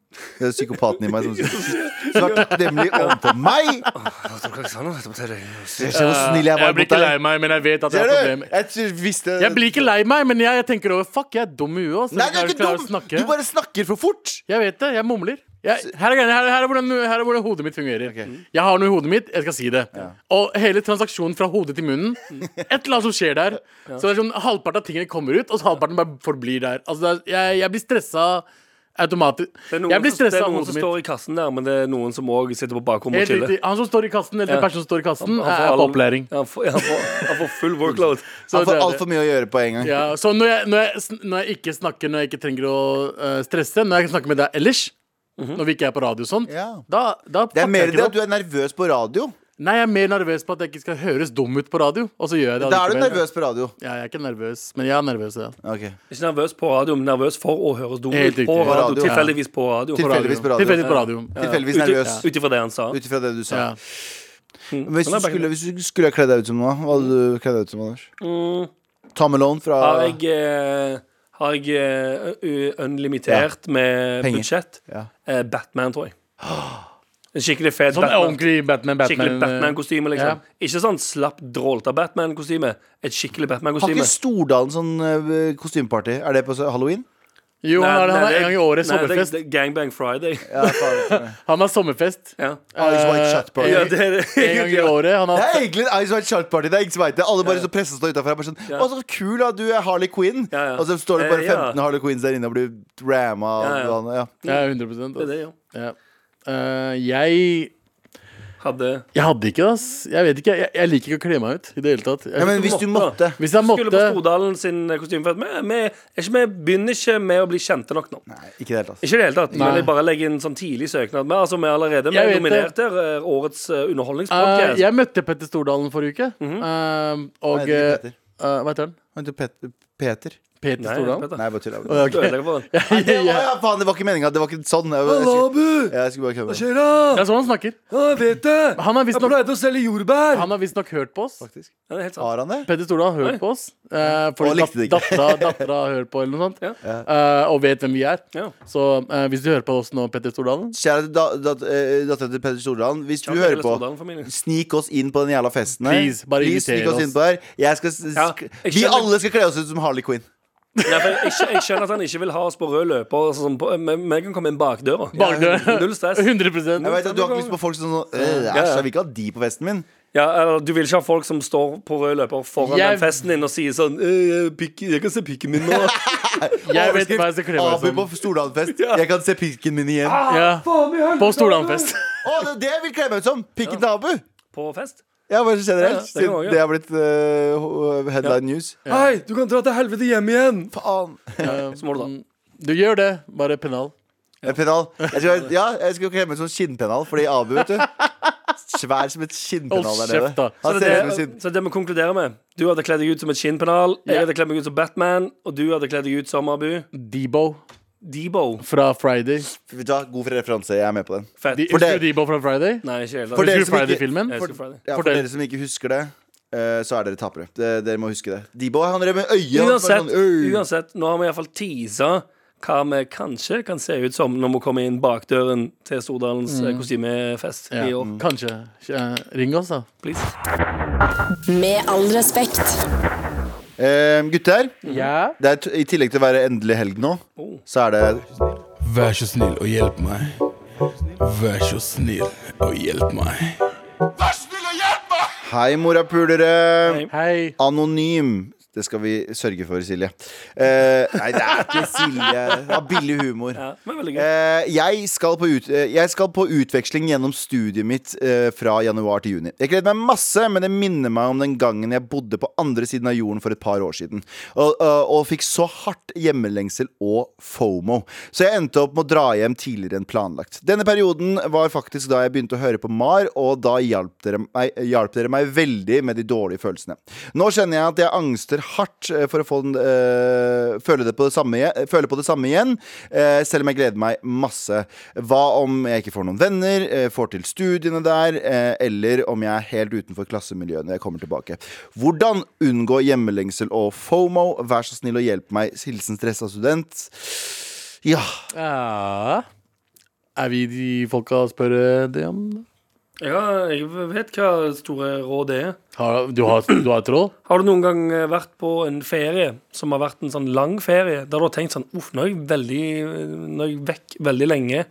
Det er psykopaten i meg som sier Snakk takknemlig overfor meg! Se hvor snill jeg Altså, Eh, Jeg var mot blir ikke lei deg. meg, men jeg vet at jeg Ser har du? problemer. Jeg tror- visste Jeg blir ikke lei meg, men jeg, jeg tenker over Fuck, jeg er dum i huet. ass. Nei, Jeg du er klarer ikke klarer å dum! snakke. Du bare snakker for fort. Jeg vet det. Jeg mumler. Jeg, her, er, greia, her, er- her, er hvordan, her er hvordan hodet mitt fungerer. Jeg har noe i hodet mitt, jeg skal si det. Og hele transaksjonen fra hodet til munnen Et eller annet som skjer der. Så det er sånn halvparten av tingene kommer ut, og så halvparten bare forblir der. Altså, det er, jeg, jeg blir stressa automatisk. Det er noen, Jeg blir som, det stressa er av noen som hodet mitt. står i kassen der, men det er noen som òg sitter på bakrommet og Helt chiller. riktig. Han som står i kassen, eller Ja. den personen som står i kassen, Han får er på all- opplæring. Ja, Han får, han får, han får full workload. Så Han det får er det. altfor mye å gjøre på en gang. Ja, så når jeg, når, jeg, sn- når jeg ikke snakker, når jeg ikke trenger å øh, stresse, når jeg snakker med deg ellers, Mhm. når vi ikke er på radio og sånn, Ja. da, da Det er fucker jeg mer ikke det at opp. du er nervøs på radio. Nei, jeg er mer nervøs på at jeg ikke skal høres dum ut på radio, og så gjør jeg det Da er du allikevel. nervøs på radio. Ja, jeg er ikke nervøs, men jeg er nervøs, ja. Ok. Ikke nervøs på radio, men nervøs for å høres dum ut Helt riktig. på På radio. radio, ja. Tilfeldigvis på radio. Tilfeldigvis på radio. Tilfeldigvis på radio. Ja. Tilfeldigvis nervøs Ut ifra det han sa. ut ifra det du sa. Ja. Men hvis, Men det du Sånn er bare- skulle, hvis du skulle kle deg ut som noe, hva hadde du kledd deg ut som, Anders? Tom Malone fra Mm. Har jeg, eh, har jeg eh, u- unlimitert med Penger. budsjett? Ja. Eh, Batman, tror jeg. En skikkelig fet Sånn Batman. ordentlig Batman, Batman. eh, Skikkelig Batman-kostyme, ja. liksom. Ikke sånn slapp, drålete Batman-kostyme. Et skikkelig Har Batman-kostyme. ikke Stordalen sånn eh, kostymeparty? Er det på så- halloween? Jo, han har- han har en gang i året nei, det- sommerfest. det er Gangbang Friday. Ja, faen. Han har sommerfest. Eh, Ja. Ice White Shut Party. Ja, det er det. En gang i året. Han Det har er egentlig en Ice White Shut Party. Det er ingen som vet det. Alle bare så presser seg utenfor. Bare sånn, Å, så kul da, du er Harley Quinn. Ja, ja. Og så står det bare Eh, ja. 15 Harley Quinns der inne og blir ramma. Ja, ja. Ja, ja. Ja, 100 Det er det, ja. Ja. Eh, jeg Hadde Jeg hadde ikke, ass. Jeg vet ikke, jeg, jeg liker ikke å kle meg ut i det hele tatt. Jeg, men hvis du måtte hvis jeg Skulle på måtte Stordalen sin kostymefest. Vi- Vi er ikke- vi begynner ikke med å bli kjente nok nå. Nei, ikke i det hele tatt. Ikke i det hele tatt. Nei. Men jeg bare legger inn sånn tidlig søknad. Men altså, vi er allerede vi Jeg er vet dominert det. her. eh, Årets eh, Eh, underholdningspodcast Jeg møtte Petter Stordalen forrige uke. Mhm. Eh, og Hva heter eh, han, Petter? eh, Hva heter han? Han heter Pet- Peter. Peter Nei, Stordalen? Petter. Nei, jeg bare tuller. Å, Du ødelegger for den. Nei, det var, ja, faen, det var ikke meninga. Det var ikke sånn. Jeg, jeg, skulle- Abu! jeg skulle bare kødde. med det. Skjer det? Det er sånn han snakker. Ja, jeg vet det! Han har visstnok pleide å selge jordbær! han har visstnok hørt på oss. Faktisk. Ja, det er helt sant. Har han det? Petter Stordalen har hørt på oss. Uh, Og likte det ikke. dattera, dattera hører på, eller noe sånt. Ja. Eh, og vet hvem vi er. Ja. Så eh, hvis du hører på oss nå, Petter Stordalen Kjære da- dat- eh, datter til Petter Stordalen, hvis du Ja, hører hele på Stordalen-familien. Snik oss inn på den jævla festen her. Please, bare inviter snik oss oss. inn på her. Jeg skal, s- Ja, sk- jeg vi skjønner. alle skal kle oss ut som Harley Quinn. Nei, for jeg, skjø- jeg skjønner at han ikke vil ha oss på rød løper. Sånn, som på, men vi kan komme inn bakdøra. Bagdø. Null stress. 100 Jeg vet at Du har ikke lyst på folk som sånn øh, Æsj, ja. jeg vil ikke ha de på festen min. Ja, eller, du vil ikke ha folk som står på rød løper foran Jeg- den festen din og sier sånn «Øh, jeg pikk- Jeg kan se pikken min nå. Jeg vet hva jeg skal kle meg Abu som. Ah! på Stordalen-fest. Jeg kan se pikken min igjen. Å, Ja. På Stordalen-fest. det er det jeg vil kle meg ut som! Pikken til Abu. På fest. Ja, bare generelt. Ja, ja, det kan siden også, Det ja. har blitt øh, ho- headline news. Hei, du kan dra til helvete hjem igjen! Faen. Så Mm. må du da. Eh, Du gjør det, bare pennal. En pennal. Eh, Jeg skal, ja, jeg skal klemme en sånn skinnpennal, fordi Abu, vet du Svær som et skinnpennal Hold der nede. kjeft, da. Han Så det, ser ut er som det, sin så det er det vi konkluderer med Du hadde kledd deg ut som et skinnpennal. Jeg hadde kledd meg ut som Batman. Og du hadde kledd deg ut som Abu. Debo Debo. fra Friday. Vet du hva, God referanse, jeg er med på den. Fett. De, For husker det- du Debo fra Friday? Nei, ikke helt. For dere Jeg Husker du som ikke- Friday-filmen? elsker Friday. Ja, for Fortell. dere som ikke husker det, eh, så er dere tapere. Det- Dere må huske det. Debo han drev med øyet. han var Uansett, sånn, «Øy». uansett, nå har vi iallfall teasa hva vi kanskje kan se ut som når vi kommer inn bakdøren til Stordalens Mm. eh, kostymefest Ja. i år. Kanskje. Eh, Ring oss, da. Please. Med all respekt. Eh, gutter, det er, t- i tillegg til å være endelig helg nå, Oh. så er det Vær så snill og hjelp meg. Vær så snill og hjelp meg. Hei, morapulere! Hei. Anonym Det skal vi sørge for, Silje. Eh, nei, det er ikke Silje. Det er billig humor. Ja, men veldig gøy. Eh, jeg, skal på ut, eh, jeg skal på utveksling gjennom studiet mitt eh, fra januar til juni. Jeg gleder meg masse, men det minner meg om den gangen jeg bodde på andre siden av jorden for et par år siden. Og, og, og fikk så hardt hjemmelengsel og FOMO. Så jeg endte opp med å dra hjem tidligere enn planlagt. Denne perioden var faktisk da jeg begynte å høre på MAR, og da hjalp dere meg, hjalp dere meg veldig med de dårlige følelsene. Nå kjenner jeg at jeg angster hardt eh, for å få den, eh, føle, det på det samme, igjen- føle på det samme igjen, eh, selv om jeg gleder meg masse. Hva om jeg ikke får noen venner, eh, får til studiene der, eh, eller om jeg er helt utenfor klassemiljøet når jeg kommer tilbake. Hvordan unngå hjemmelengsel og FOMO? Vær så snill og hjelp meg. Hilsen stressa student. Ja. Ja. Er vi de folka eh, spørre det om? Eh, Ja, jeg vet hva store råd er. Har, du, har, du har et troll? Har du noen gang eh, vært på en ferie som har vært en sånn lang ferie, der du har tenkt sånn Uff, nå er jeg veldig eh, Nå er jeg vekk veldig lenge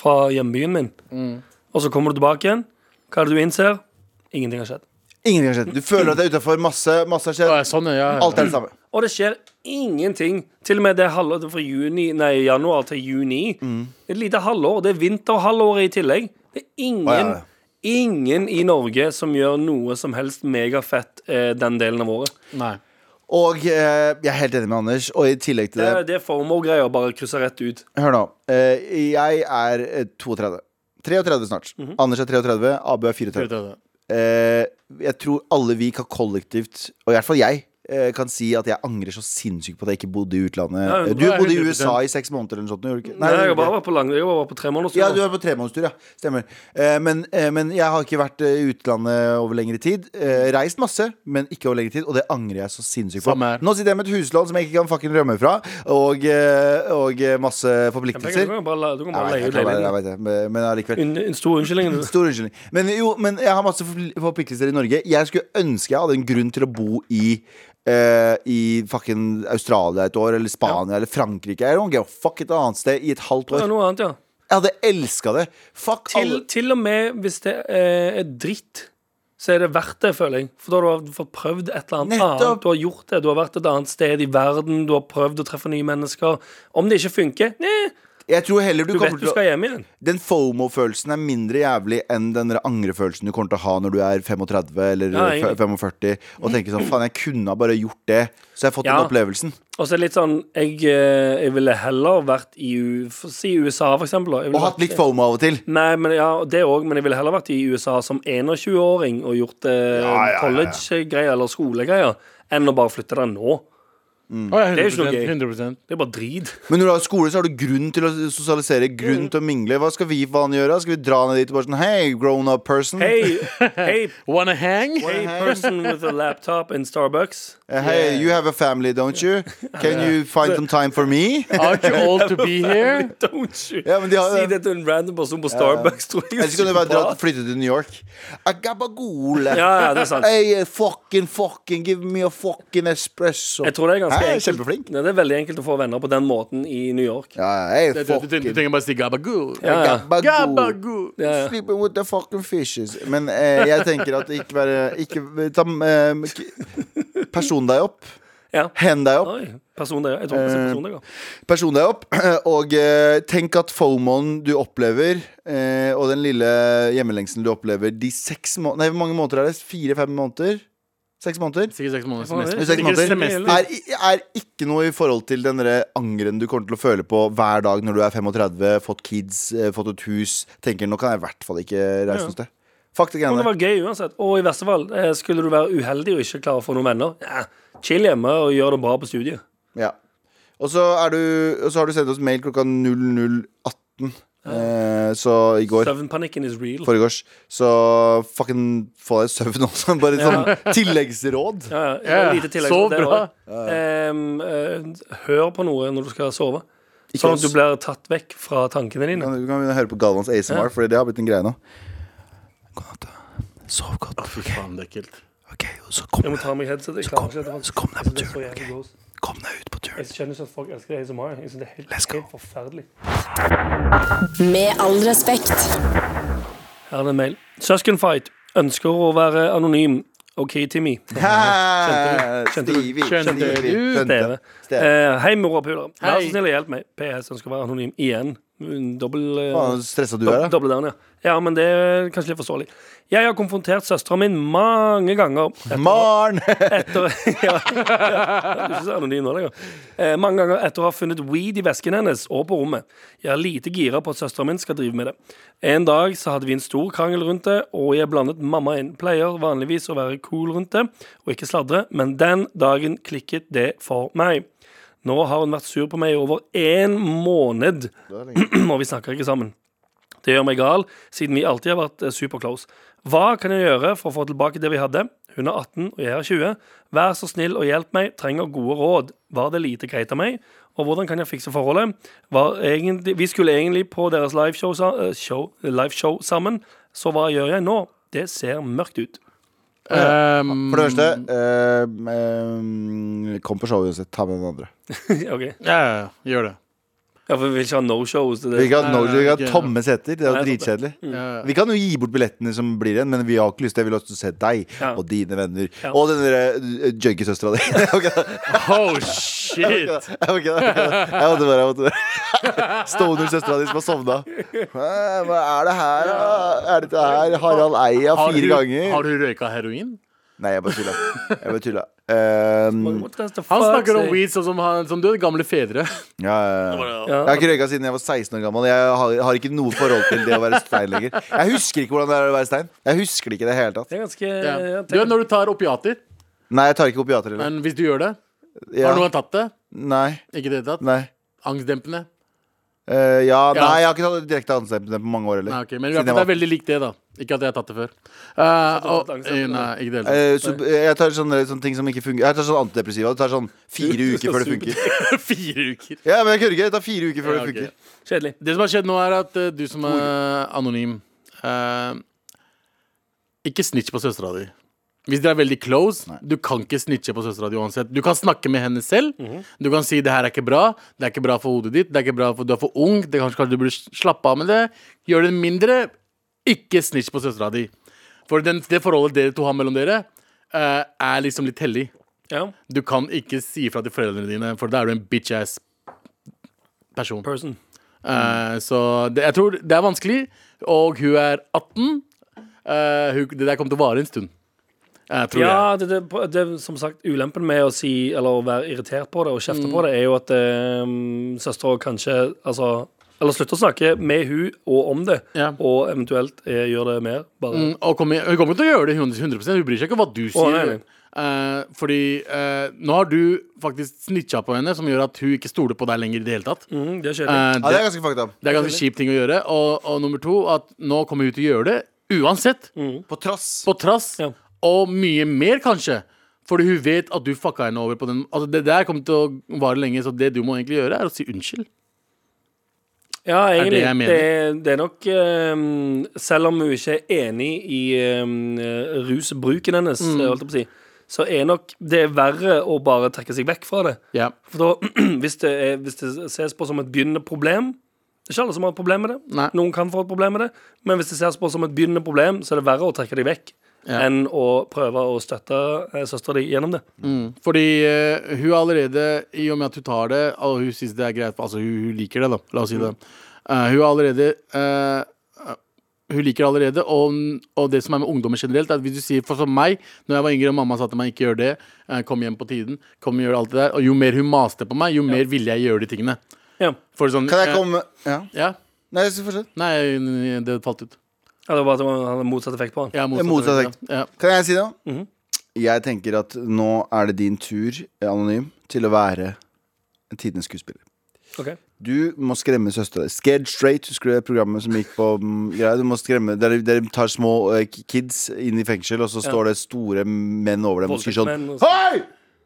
fra hjembyen min. Og så kommer du tilbake igjen. Hva er det du innser? Ingenting har skjedd. Ingenting har skjedd. Du føler at det er utafor. Masse, masse har Ja, skjedd. sånn, ja. ja. Alt er det samme. Og det skjer ingenting. Til og med det halvåret fra juni, nei, januar til juni. Et lite halvår. Det er vinterhalvåret i tillegg. Det er ingen, Å, ja, ja. ingen i Norge som gjør noe som helst megafett eh, den delen av året. Nei. Og eh, jeg er helt enig med Anders, og i tillegg til Det, det det er FOMO-greier. Bare krysser rett ut. Hør nå. eh, Jeg er eh, 32. 33 snart. Mhm. Anders er 33, Abu er 34. Vet jeg det. Eh, jeg tror alle vi kan kollektivt, og i hvert fall jeg, eh, kan si at jeg angrer så sinnssykt på at jeg ikke bodde i utlandet. Ja, Eh, du ja, bodde i 100%. USA i seks måneder eller noe sånt. Gjorde du ikke? Nei, du jeg har bare gjorde ikke. vært på, lang, jeg har bare vært på tre måneder. Ja, du er på tremånedstur, ja. Stemmer. Eh, men, eh, men jeg har ikke vært eh, i utlandet over lengre tid. Eh, reist masse, men ikke over lengre tid, og det angrer jeg så sinnssykt på. Samme her. Nå sitter jeg med et huslån som jeg ikke kan fucking rømme fra, og, eh, og eh, masse Du kan forpliktelser. bare, la- du kan bare Jeg leie vet, ut jeg, vet, jeg leiligheten. vet det, men- men allikevel. En, en stor unnskyldning. du. Stor unnskyldning. Men jo, men jeg har masse forpl- forpliktelser i Norge. Jeg skulle ønske jeg hadde en grunn til å bo i eh, I fucking Australia et år, eller Spania eller Frankrike. Jeg don't give a fuck et annet sted i et halvt Det år. er noe annet, ja. Jeg hadde elska det. Fuck Til, alle til og med hvis det eh, er dritt, så er det verdt det, føler jeg. For da har du fått prøvd et eller annet Nettopp. annet. Du har gjort det. Du har vært et annet sted i verden. Du har prøvd å treffe nye mennesker. Om det ikke funker, nei, Jeg tror heller du, du kommer vet du til å skal hjem igjen. Den FOMO-følelsen er mindre jævlig enn den der angrefølelsen du kommer til å ha når du er 35 eller Ja, egentlig. 45 og tenker sånn faen, jeg kunne ha bare gjort det, så jeg har fått Ja. den opplevelsen. Og så er det litt sånn Jeg, eh, jeg ville heller vært i U- Si USA, for eksempel. da. Jeg ville Og hatt vært- litt FOMO av og til. Nei, men ja, det òg, men jeg ville heller vært i USA som 21-åring og gjort eh, ja, ja. college-greier eller skolegreier, enn å bare flytte der nå. Å, ja, 100%, Det er jo ikke noe gøy. 100%. Det er bare drit. Men når du har skole, så har du grunn til å sosialisere, Mm. grunn til å mingle. Hva skal vi faen gjøre? Skal vi dra ned dit og bare sånn Hei, grown up person. Hey, hey, Wanna hang? hey person with a laptop in Starbucks. Eh, hey, you have a family, don't you? Can you find some time for me? Aren't you old to be here? Don't you Ja, men de har- si det til en random person på Starbucks, tror jeg. er Eller så kan du bare dra, psykopat. flytte til New York. Agabagole. Ja, ja, det er sant. Hey, eh, fucking, fucking, give me a fucking espresso. Jeg tror det er ganske Hæ, jeg er enkelt. kjempeflink. Ja, det er veldig enkelt å få venner på den måten i New York. Ja, hey, Du, du, du, du fucking trenger bare å si gabagool. Ja, ja. Gabagol. Gabagool. Ja, ja. Sleeping with the fucking fishes. Men eh, jeg tenker at ikke være ikke, ta, eh, k- Person deg opp. Ja. Hen deg opp. Oi, person der, ja. Jeg tror ikke det er person der, ja. person deg opp, og eh, tenk at FOMOen du opplever, eh, og den lille hjemmelengselen du opplever de seks må- Nei, hvor mange måneder er det? Fire-fem måneder? Seks måneder? Sikkert seks måneder. Faen, det- semester. Seks Sikkert måneder semester. er, i- er ikke noe i forhold til den der angeren du kommer til å føle på hver dag når du er 35, fått kids, eh, fått et hus. Tenker nå kan jeg i hvert fall ikke reise Ja. noe sted. Fuck det Men greiene det der. var gøy uansett. Og i verste fall, eh, skulle du være uheldig og ikke klare å få noen venner, ja, chill hjemme og gjør det bra på studiet. Ja. Og så er du- og så har du sendt oss mail klokka 00.18, eh, så i går. Søvnpanikken is real. foregårs. Så fucking få deg søvn også. Bare sånn tilleggsråd. Ja, ja, Ja, lite tillegg så til det bra. også. Ehm, eh, hør på noe når du skal sove, Ikke sånn at du oss. blir tatt vekk fra tankene Du dine. kan, du kan begynne å høre på Galvans ASMR, for det har blitt en greie nå. God natt. da. Sov godt. Fy faen, det er ekkelt. Ok, og så kom, Jeg må ta av meg headset. Jeg klarer ikke dette. så kom deg på Det er tur. så jævlig gross. Kom deg ut på tur. Jeg skjønner ikke at folk elsker det ASMR. Jeg synes det er helt, Let's go. helt forferdelig. Med all respekt. Her er det en mail. Søskenfight. Ønsker å være anonym. OK, Timmy. Hæ? Skjønte du? Stevie, Skjønte Stevie, du, skjønte. Steve. Steve. Eh, hei, morapulere. Vær Hei. så snill og hjelp meg. PS ønsker å være anonym igjen. Mm, Dobbel eh, Faen, så stressa du dob- er, da. dobbel down, ja. ja, men det er kanskje litt forståelig. Jeg har konfrontert søsteren min mange ganger etter, Maren! etter ja, ja, Du er ikke så anonym nå lenger. Eh, mange ganger etter å ha funnet weed i vesken hennes og på rommet. Jeg er lite gira på at søsteren min skal drive med det. En dag så hadde vi en stor krangel rundt det, og jeg blandet mamma inn. Pleier vanligvis å være cool rundt det og ikke sladre, men den dagen klikket det for meg. Nå har hun vært sur på meg i over én måned, og vi snakker ikke sammen. Det gjør meg gal, siden vi alltid har vært eh, super close. Hva kan jeg gjøre for å få tilbake det vi hadde? Hun er 18, og jeg er 20. Vær så snill og hjelp meg, trenger gode råd. Var det lite greit av meg? Og hvordan kan jeg fikse forholdet? Var egentlig, vi skulle egentlig på deres liveshow sa- eh, show, liveshow sammen, så hva gjør jeg nå? Det ser mørkt ut. Um, For det første, Mm. eh, eh, kom på showet uansett. Ta med den andre. ok, ja, ja, ja, gjør det. ja, for Vi vil ikke ha no shows. Det, Vi det. kan, no, vi kan ikke- ha tomme seter. Det er jo Nei, Mm. sant dritkjedelig. Ja, ja. Vi kan jo gi bort billettene som blir igjen, men vi har ikke lyst til det. Vi vil også se deg Ja. og dine venner. Ja. Og den derre juggesøstera di. Jeg var ikke det. Oh, Jeg shit! var ikke det. Jeg var ikke det. Jeg måtte bare, jeg måtte bare. Stoner-søstera di som har sovna. Hæ, Hva er det her, da? Er dette her Harald Eia Har fire du- Har ganger? du røyka heroin? Nei, jeg bare tulla. Jeg bare tulla. Um, What does the Han fuck snakker om say? weed sånn som, han, som døde gamle fedre. ja, ja, ja. Ja. Jeg har ikke røyka siden jeg var 16 år gammel. Jeg har, har ikke noe forhold til det å være stein lenger. Jeg husker ikke hvordan det er å være stein. Jeg husker det ikke i det hele tatt. Det er ganske Ja. jeg Du vet tenker- når du tar opiater? Nei, jeg tar ikke opiater heller. Men hvis du gjør det Ja. Har noen tatt det? Nei. Ikke det hele tatt? Nei. Angstdempende? Eh, ja, Ja. nei, jeg har ikke tatt direkte anstemmelse på mange år heller. Nei, ok, Men i Siden jeg hvert fall det er var- veldig likt det, da. Ikke at jeg har tatt det før. Eh, og, tatt eh, angstdempende? nei, ikke det hele tatt. Eh, så, eh, jeg tar sånne, sånne ting som ikke fungerer. Jeg tar sånn antidepressiva. Det tar sånn fire Du- du uker skal før det suge funker. Fire uker. Ja, men jeg kødder ikke. Det tar fire Eh, uker før Ja, det funker. ok. Kjedelig. Det som har skjedd nå, er at eh, du som er anonym eh, Ikke snitch på søstera di. Hvis dere er veldig close, du kan ikke snitche på søstera di uansett. Du kan snakke med henne selv. Du kan si 'det her er ikke bra', 'det er ikke bra for hodet ditt', 'det er ikke bra for du er for ung', det kanskje, kanskje du burde slappe av med det. Gjør det mindre. Ikke snitch på søstera di. For den, det forholdet dere to har mellom dere, eh, er liksom litt hellig. Ja. Du kan ikke si ifra til foreldrene dine, for da er du en bitch-ass person. Person. Eh, Så det, jeg tror det er vanskelig. Og hun er 18. Eh, hun, det der kommer til å vare en stund. Eh, tror jeg. Ja, det, det, det er som sagt ulempen med å si Eller å være irritert på det og kjefte Mm. på det, er jo at um, søstera kanskje Altså Eller slutter å snakke med hun og om det, Ja. og eventuelt eh, gjør det mer. Bare Mm, og kommer, hun kommer til å gjøre det 100 Hun bryr seg ikke hva du sier. nei, nei. Eh, fordi eh, nå har du faktisk snitcha på henne, som gjør at hun ikke stoler på deg lenger. i det hele tatt mm, Det er kjedelig. Ja, Eh, det er det, ganske fucked up. det er ganske kjip ting å gjøre. Og, og nummer to, at nå kommer hun til å gjøre det uansett. På trass. På trass. Ja. Og mye mer, kanskje. Fordi hun vet at du fucka henne over på den. Altså, det der kommer til å vare lenge, så det du må egentlig gjøre, er å si unnskyld. ja, det egentlig. jeg mener? Det, er- det er nok um, Selv om hun ikke er enig i um, eh, rusbruken hennes, Mm. holdt jeg på å si, så er nok det er verre å bare trekke seg vekk fra det. Ja. For da, hvis det, er, hvis det ses på som et begynnende problem Det er ikke alle som har et problem med det. Nei. Noen kan få et problem med det, men hvis det ses på som et begynnende problem, så er det verre å trekke deg vekk Ja. enn å prøve å støtte eh, søstera di gjennom det. Mm. Fordi eh, hun allerede, i og med at hun tar det, og hun syns det er greit Altså, hun, hun liker det, da. La oss si det. Mm. Eh, hun har allerede eh, eh, Hun liker det allerede, og, og det som er med ungdommer generelt, er at hvis du sier for som meg, når jeg var yngre og mamma sa til meg ikke gjør det, eh, kom hjem på tiden, kom gjør alt det der, og jo mer hun maste på meg, jo mer ville jeg gjøre de tingene. Ja, For sånn, Kan jeg eh, komme Ja. Ja. Nei, så fortsett. Nei, det falt ut. Ja, Det var bare at han hadde motsatt effekt på han. Ja, motsatt. Motsatt effekt, effekt. Ja. Kan jeg si noe? Mhm. Jeg tenker at nå er det din tur, eh, anonym, til å være en tidenes skuespiller. Ok. Du må skremme søstera di. Scared Straight, husker du det programmet som gikk på mm, greia? Du må skremme Dere, dere tar små eh, k- kids inn i fengsel, og så står det store menn over dem og sier sånn Voldtektsmenn og sånn. Hei!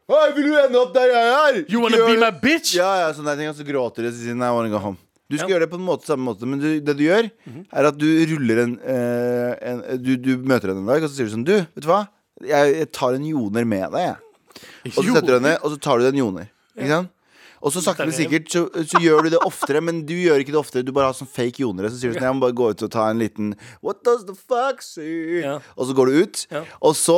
Hei, vil du ende opp der jeg er? You wanna Gjør be det!» my bitch? Ja, ja, sånn der ting, og så gråter de og så sier de, Nei, I wanna go home Du skal gjøre det på en måte, samme måte Men du, det du gjør, er at du ruller en, eh, en du, du møter henne en dag Og så sier du sånn, du, vet du hva? Jeg, jeg tar en joner med deg, jeg Og så setter du henne, og så tar du den joner Ikke sant? Og så sakte, men sikkert så, så gjør du det oftere, men du gjør ikke det oftere. Du bare har sånn fake jonere. Så sier du sånn, jeg må bare gå ut og ta en liten What does the fuck say? Ja. Og så går du ut, Ja. og så,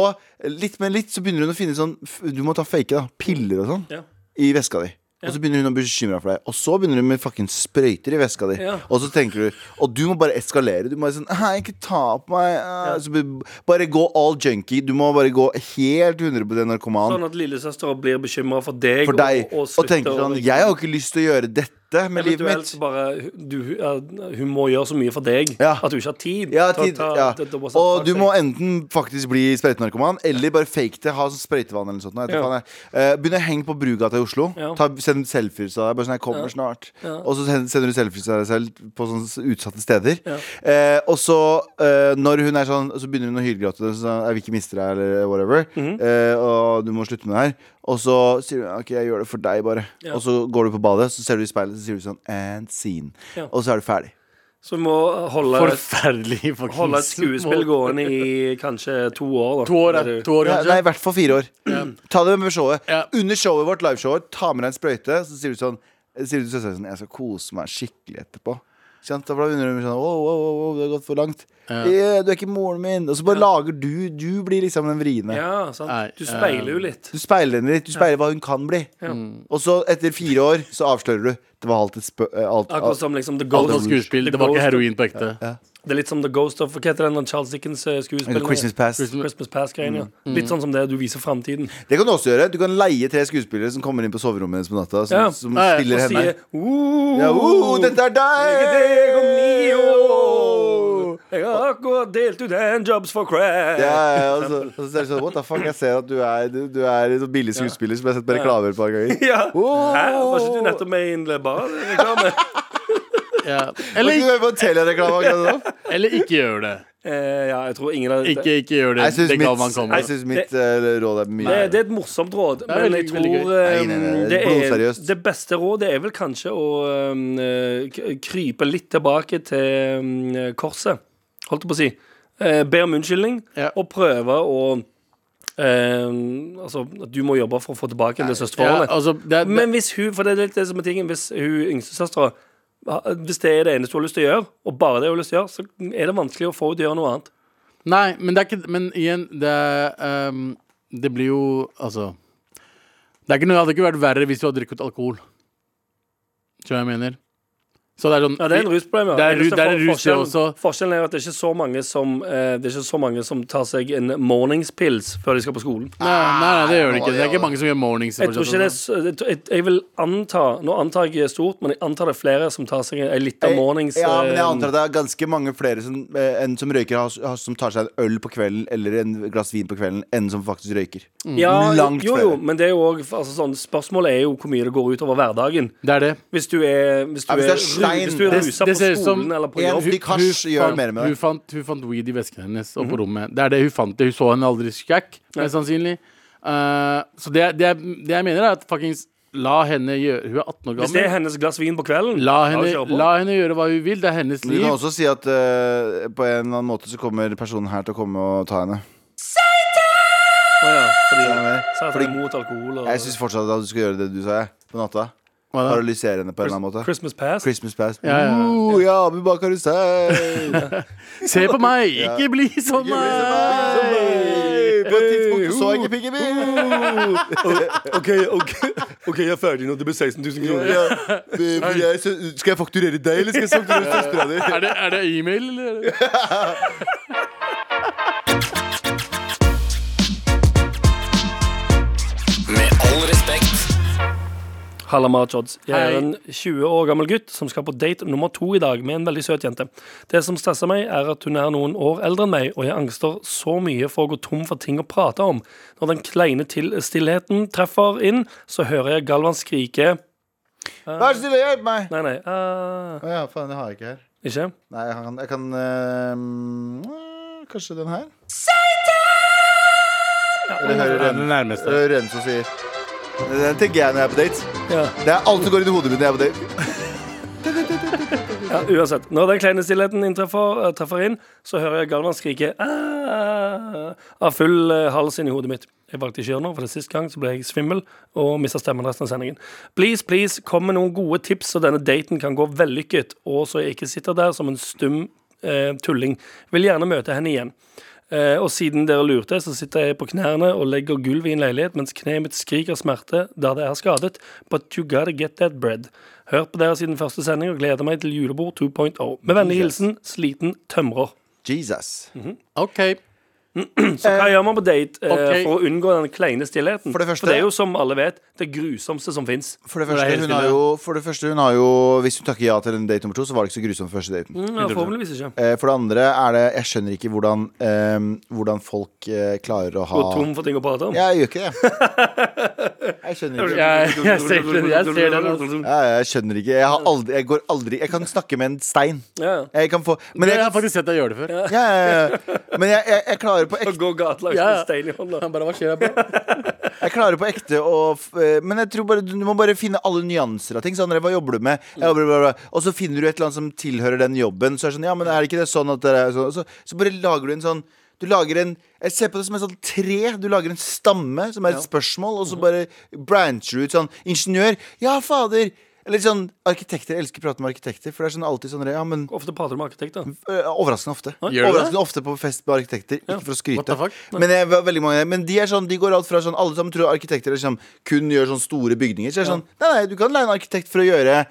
litt med litt, så begynner hun å finne sånn f- Du må ta fake da, piller og sånn Ja. i veska di. Og så begynner hun å bli bekymra for deg. Og så begynner hun med fucking sprøyter i veska di. Ja. Og så tenker du Og du må bare eskalere. Du må bare sånn Hei, ikke ta på meg. eh», så be- bare gå all junkie. Du må bare gå helt 100 på den narkoman. Sånn at lillesøstera blir bekymra for deg. for deg. Og, slutter tenker å- liksom sånn Jeg har ikke lyst til å gjøre dette med livet Eventuelt mitt. bare du, ja, Hun må gjøre så mye for deg Ja. at du ikke har tid. Ja, til å tid, ta- ja. til- til å bare sette Og bak du seg. må enten faktisk bli sprøytenarkoman, eller bare fake det. Ha sånn sprøytevann eller noe sånt. nå, jeg vet ikke Ja. faen jeg. Eh, Begynn å henge på Brugata i Oslo. Ja. Ta, send selfies av deg. Bare sånn 'Jeg kommer snart'. Og så send- sender du selfies av deg selv på sånne s- utsatte steder. Eh, og så, eh, når hun er sånn, så begynner hun å hylgråte. og Sånn, 'Jeg vil ikke miste deg', eller whatever. Mhm. eh, og du må slutte med det her. Og så sier hun 'OK, jeg gjør det for deg, bare'. Ja. Og så går du på badet, så ser du i speilet, så sier du sånn 'And scene'. Ja. Og så er du ferdig. Så vi må holde, Forferdelig, faktisk. holde et skuespill gående i kanskje to år. Da. To år, ja. Det er To år, Ja, kanskje. nei, i hvert fall fire år. Ta det med showet. Ja. Under showet vårt, liveshowet, ta med deg en sprøyte, så sier du sånn Sier du til søsteren din Jeg skal kose meg skikkelig etterpå. Skjønt? Da blir hun sånn wow, wow, wow, wow, det har gått for langt. «Eh, Du er ikke moren min. Og så bare lager du Du blir liksom den vriene. Ja, sant. Nei, Du speiler jo litt. Du speiler henne litt. Du speiler hva hun kan bli. Og så, etter fire år, så avslører du. Det var alt et spø... eh, Alt, Akkurat som liksom The Alt var Ghost. skuespill. Det var ikke heroin på ekte. Det er litt som The Ghost of Hva heter den Charles Dickens eh, eller skuespillet? Christmas Past. Christmas Past-greien, ja. Litt sånn som det du viser framtiden. Det kan du også gjøre. Du kan leie tre skuespillere som kommer inn på soverommet hennes på natta, som, Ja. som Ja, ja, spiller Og henne. sier «Oh, Ja, oh, dette er jeg er deg om ni deg! år. Jeg har akkurat delt ut handjobs for crack. Ja, ja, og så, og så er det sånn What the fuck? Jeg ser at du er, du, du er en sånn billig skuespiller som jeg har sett på reklamer et par ganger. Ja. Oh. Hæ? Var ikke du nettopp med i en barreklame? Ja. Kan ikke Eller, du høre på en telereklame akkurat nå? eller ikke gjør det. eh, ja, jeg tror ingen av Ikke, ikke gjør det. Jeg syns Det gav man mitt, kommer. jeg synes mitt eh, råd er mye det, det er et morsomt råd, er men veldig- jeg tror veldig gøy. eh, Nei, nei, nei, det, er, blodseriøst. det beste rådet er vel kanskje å eh, k- krype litt tilbake til eh, korset. Holdt jeg på å si. Eh, be om unnskyldning Ja. og prøve å eh, altså, at du må jobbe for å få tilbake det Ja, søsterforholdet. altså, det, det, Men hvis hun For det er litt det som er tingen. Hvis hun yngstesøstera Hvis det er det eneste hun har lyst til å gjøre, og bare det hun har lyst til å gjøre, så er det vanskelig å få henne til å gjøre noe annet. Nei, men det er ikke Men igjen, det er ehm, Det blir jo Altså Det er ikke noe Det hadde ikke vært verre hvis du hadde drukket alkohol. Skjønner du hva jeg mener? Så det er sånn Ja, det er en rusproblem. Ja. Det er ru- Eneste det er en for- rus, det forskjellen- også. Forskjellen er at det er ikke så mange som eh, Det er ikke så mange som tar seg en morningspils før de skal på skolen. Nei, nei, nei, det gjør det ikke. Det er ikke mange som gjør mornings. Jeg tror ikke det er så- jeg, tror- jeg- jeg vil anta Nå antar jeg stort, men jeg antar det er flere som tar seg en lita mornings... Ja, men jeg eh, antar at det er ganske mange flere som, eh, enn som røyker, har- har- som tar seg en øl på kvelden eller en glass vin på kvelden, enn som faktisk røyker. ja, langt jo, jo, flere. men det er jo også, altså, sånn, Spørsmålet er jo hvor mye det går utover hverdagen. Det er det. Hvis du er Hvis du Ja, hvis er, det er stein, ru- hvis du er det- rusa på det ser ut som skolen eller på en jobb Stikk hasj, gjør fant- mer med det. Hun fant, hun fant weed i vesken hennes og på rommet. Det er det hun fant. det Hun så henne aldri skjekk, mest sannsynlig. Eh, så det, er- det, er- det jeg mener, er at fuckings La henne gjøre Hun er 18 år Hvis det er gammel. hennes glass vin på kvelden La ja, henne, kjør på. la henne gjøre hva hun vil. Det er hennes Men du liv. kan også si at eh, på en eller annen måte så kommer personen her til å komme og ta henne. Å ja, Skjønner fordi, du hva jeg mener? så er det Fordi- mot alkohol og Jeg syns fortsatt at du skal gjøre det du sa, jeg, på natta. Hva da? Paralysere henne på en eller annen måte. Christmas past. Christmas past. Ja, ja, ja. Oh, ja, Abu Bakar Hussein! Se på meg, ikke bli som meg! På et tidspunkt så jeg ikke Piggy OK, ok, ok, jeg er ferdig nå. Det blir 16 000 Skal jeg fakturere deg, eller skal jeg fakturere søstera di? Er det, er det e-mail, eller? Med all respekt. Halla, Marchods. Jeg er Hei. en 20 år gammel gutt som skal på date nummer to i dag med en veldig søt jente. Det som stresser meg, er at hun er noen år eldre enn meg, og jeg angster så mye for å gå tom for ting å prate om. Når den kleine til stillheten treffer inn, så hører jeg Galvan skrike Vær så snill og hjelp meg! Nei, nei, eh, Å ja, faen, det har jeg ikke her. ikke? Nei, jeg kan, jeg kan eh, Kanskje den her? Eller hører det nærmeste. hører Ren som sier. Den tenker jeg når jeg er på date. Ja. Det er alt som går inn i hodet mitt når jeg er på date. Ja, uansett. Når den kleine stillheten inntreffer, eh, treffer inn, så hører jeg Galvan skrike «Ah!» av full eh, hals inni hodet mitt. Jeg valgte ikke å gjøre noe, for det sist gang så ble jeg svimmel og mista stemmen resten av sendingen. Please, please, kom med noen gode tips, så denne daten kan gå vellykket, og så jeg ikke sitter der som en stum eh, tulling. Vil gjerne møte henne igjen. Eh, og siden dere lurte, så sitter jeg på knærne og legger gulvet i en leilighet mens kneet mitt skriker smerte der det er skadet. But you gotta get that bread. Hørt på dere siden første sending og gleder meg til julebord 2.0. Med vennlig hilsen sliten tømrer. Jesus. OK. Så hva gjør man på date eh, ok. for å unngå den kleine stillheten? For det første- er jo som alle vet, det grusomste som fins. For det, det er første, helt hun har stille. jo, for det første, hun har jo Hvis hun takker ja til en date nummer to, så var det ikke så grusomt første daten. Ja, forhåpentligvis ikke. Eh, For det andre er det Jeg skjønner ikke hvordan, ehm, hvordan folk eh, klarer å ha Gå tom for ting å prate om. Ja, Jeg gjør ikke det. Jeg skjønner ikke. Jeg, jeg, ser, den, jeg ser den. altså. Ja, jeg skjønner ikke. Jeg, har aldri, jeg går aldri Jeg kan snakke med en stein. Ja. Jeg kan få Men Jeg jeg, har faktisk sett deg gjøre det før. ja, ja, ja. Men jeg, jeg, jeg klarer på Og ekte, gå gatelangs Ja, ja. med stein i hånda. Han bare, hva skjer her, bro? jeg klarer på ekte å f- eh, Men jeg tror bare du må bare finne alle nyanser av ting. Sånn, hva jobber du med? Jeg jobber, bla, bla, bla. Og så finner du et eller annet som tilhører den jobben. Så er det sånn, ja, men er det ikke det sånn at det er sånn? Så, så bare lager du en sånn du lager en, Jeg ser på det som et sånt tre. Du lager en stamme som er et spørsmål, og så bare brancher du ut sånn Ingeniør. Ja, fader. Eller sånn Arkitekter. Jeg elsker å prate med arkitekter, for det er sånn alltid sånn Ja, men Ofte prater du med arkitekter. Eh, Overraskende ofte. Gjør du Overraskende ofte på fest med arkitekter. Ikke for å What the skryte. fuck? Men, jeg, ve- veldig mange, men de er sånn, de går alt fra sånn Alle sammen tror arkitekter er sånn, kun gjør sånn store bygninger. Så er det sånn, nei, nei, du kan leie en arkitekt for å gjøre eh,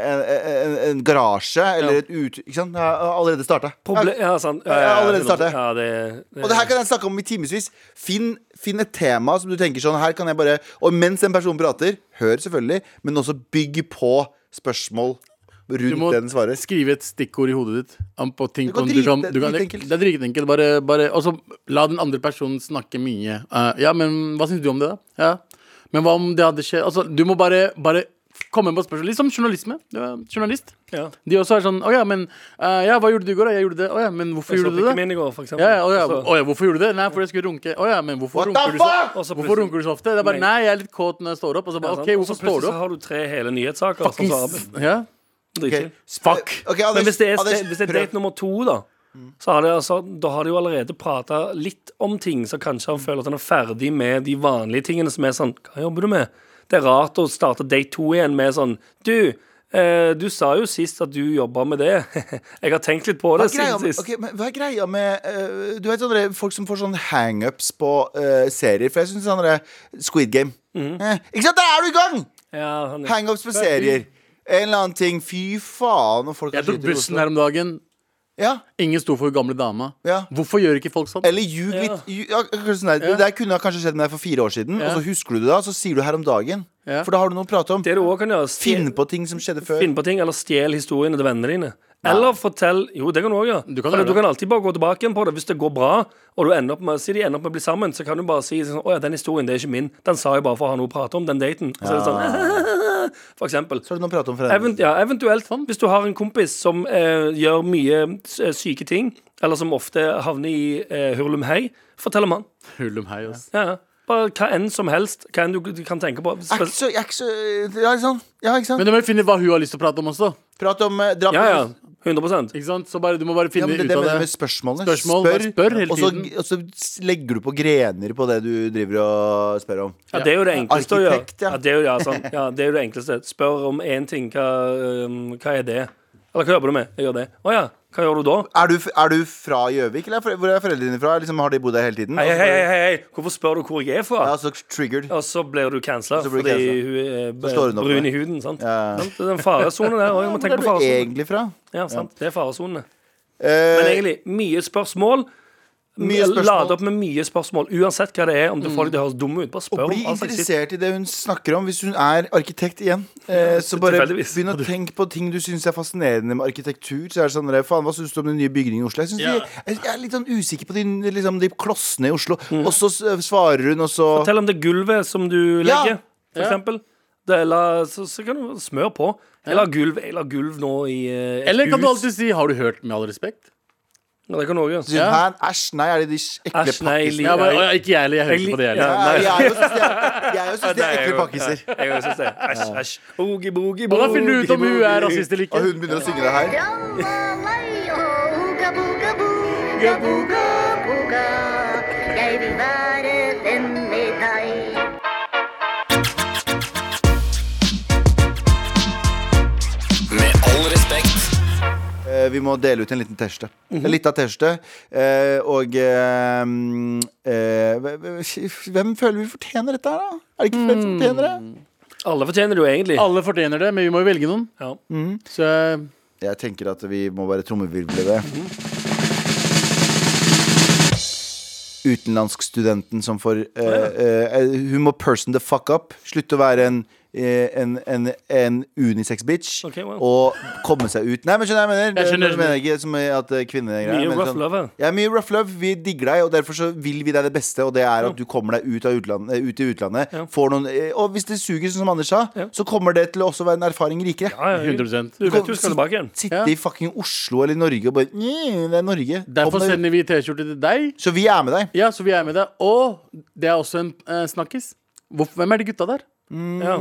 en, en, en garasje eller et ut... Ikke sant? Jeg har allerede starta. Proble ja, sant. Ja, ja, Jeg har ja, allerede det- startet. Ja, det, det, Og det her kan jeg snakke om i timevis. Finn, finn et tema som du tenker sånn Her kan jeg bare Og mens en person prater, hør selvfølgelig, men også bygg på spørsmål Du må rundt det den svarer. skrive et stikkord i hodet ditt. om På ting, Det går som du kan, drit- du kan, det dritenkelt. er dritenkelt. Bare, bare, og så la den andre personen snakke mye. Eh, ja, men hva syns du om det, da? Ja. Men hva om det hadde skjedd altså, Du må bare, bare komme på spørsmål. Litt som journalisme. Du er journalist. ja. De også er sånn Å ja, men eh, ja, hva gjorde du i går? da? Jeg gjorde det. Å ja, men hvorfor Jeg så gjorde du pikken det? min i går, for eksempel. Ja, ja, å, ja. Så- å ja, hvorfor gjorde du det? Nei, fordi jeg skulle runke. Å ja, men hvorfor What the runker du så fuck?! Og så Hvorfor plutselig- runker du så ofte? Det er bare Nei. Nei, jeg er litt kåt når jeg står opp. Og så Ja, bare sant. Og OK, så hvorfor står du Plutselig så opp? har du tre hele nyhetssaker. som svarer på- Ja. Dritkjipt. Ok. Fuck. Ok, Anders, Men hvis det er, Anders, sted- hvis det er prøv. date nummer to, da så har de altså, da har de jo allerede prata litt om ting, så kanskje han føler at han er ferdig med de vanlige tingene som er sånn Hva jobber du med? Det er rart å starte date to igjen med sånn Du, eh, du sa jo sist at du jobba med det. Jeg har tenkt litt på Hva det er greia siden med, sist. ok, men hva er greia med eh, Du vet sånne folk som får sånne hangups på eh, serier? For jeg syns sånn derre Squid Game. Eh, ikke sant, der er du i gang! Ja, han, er- Hangups på serier. En eller annen ting. Fy faen. Og folk Jeg har tok skyter i bussen Oslo. her om dagen. Ja, Ingen sto for hun gamle dama. Ja. Hvorfor gjør ikke folk sånn? Eller ljug litt. Ljug- Ja. akkurat sånn der. Det der kunne ha kanskje skjedd med deg for fire år siden, Ja. og så husker du det da, så sier du her om dagen. Ja. For da har du noe å prate om. det du òg kan gjøre, er å stje- Finn på ting som skjedde før. Finn på ting, eller stjel historiene til vennene dine. Eller fortell Jo, det kan du òg gjøre. Du kan For gjøre du det. kan alltid bare gå tilbake igjen på det. Hvis det går bra, og du ender opp med, si de ender opp med å bli sammen, så kan du bare si sånn, Å ja, den historien det er ikke min. Den sa jeg bare for å ha noe å prate om, den daten. Og Så er det sånn, for eksempel. Så har du noe å prate om for Even, henne. ja, eventuelt, Sånn. hvis du har en kompis som eh, gjør mye eh, syke ting, eller som ofte havner i eh, hurlumhei, fortell om han. Hull om hei, ass. Ja, ja. Bare hva enn som helst. Hva enn du kan tenke på. Er ikke så, er ikke så Ja, ikke sant? Ja, ikke sant? Men du må jo finne hva hun har lyst til å prate om også. Prate om eh, drap Ja, ja. på 100 Ikke sant? Så bare, du må bare Ja, finne men det, er ut det av mener det. jeg med spørsmålene. Spørsmål, bare spør hele og, så, tiden. og så s- legger du på grener på det du driver og spør om. Ja, det er jo det enkleste å gjøre. Arkitekt, ja. Ja, det er jo, ja, sånn. ja, det er jo det enkleste. Spør om én ting. Hva, um, hva er det? Eller hva jobber du med? Jeg gjør det. Å ja. Hva gjør du da? Er du, f- er du fra Gjøvik, eller er fore- hvor er foreldrene dine fra? Liksom, har de bodd der hele tiden? Hei, hei, hei, hei, hei. Hvorfor spør du hvor jeg Ja, er fra? så triggered. Og så blir du cancella Så blir du fordi cancella. hun er b- Så slår hun opp brun med. i huden. sant? Ja. Sant? Det er den faresonen der òg. Man Hvor tenker er på du faresonen. egentlig fra? Ja, sant. Det er faresonene. Eh, Men egentlig, mye spørsmål. Mye spørsmål. Mm. Lade opp med mye spørsmål, uansett hva det er. Om du får det til å høres dum ut, bare spør. om bli all slags shit. interessert i det hun snakker om, hvis hun er arkitekt igjen. Eh, så bare tilfeldigvis. begynn å tenke på ting du syns er fascinerende med arkitektur. Så er det sånn, der, faen, Hva syns du om den nye bygningen i Oslo? Jeg, synes Ja. de, jeg er litt sånn usikker på de, liksom, de klossene i Oslo. Og så s- svarer hun, og så Mm. Fortell om det gulvet som du Ja. legger, for Ja. eksempel. Det, la, så, så kan du smøre på. Jeg la gulv, jeg la gulv nå i eh, et Eller kan du hus. alltid si 'Har du hørt', med all respekt? Ja, det kan du også Ja. gjøre. Ja. Hæ, æsj, nei, er det de ekle Æsj, nei, pakkisene? li- Ja, men, ja, ikke jeg heller. Jeg hører ikke på det jeg heller. Ja, Nei, nei. Jeg er jo synes de er- jeg er jo synes de Nei, er jeg ekle jo- pakkiser. Nei, Jeg syns det. Æsj, æsj. Oogie, boogie, Og da finner du ut om hun er boogie. rasist eller Og ikke. hun begynner å synge det her. Rallalaiho, uga buga buga buga buga. Jeg vil være venn med deg. Med all respekt. Eh, Vi må dele ut en liten T-skjorte. Mhm. En liten T-skjorte. eh, Og eh, mm, eh, hve- hve- hvem føler vi fortjener dette her, da? Er det ikke flere som fortjener det? Alle fortjener det jo egentlig. Alle fortjener det, men vi må jo velge noen. Ja. Så eh, Jeg tenker at vi må bare trommevirvle det. Utenlandskstudenten som får eh, eh, Hun må person the fuck up. Slutte å være en eh, en, en, en unisex-bitch Ok, wow. og komme seg ut. Nei, men skjønner jeg hva jeg mener? Jeg skjønner, jeg mener ikke som at eh, kvinner Mye men rough love, ja. ja, mye rough love. Vi digger deg, og derfor så vil vi deg det beste. Og det er at du kommer deg ut, av utlandet, eh, ut i utlandet. Ja. Får noen, eh, og hvis det suger, sånn som Anders sa, Ja. så kommer det til å også være en erfaring rikere. Ja, ja, 100 Du vet du skal tilbake igjen. Sitte Ja. i fucking Oslo eller Norge og bare «Mm, Det er Norge. Kom Derfor deg ut». sender vi T-skjorte til deg. Så vi er med deg. Ja, så vi er med deg. Og det er også en eh, snakkis. Hvorfor, hvem er de gutta der? Ja.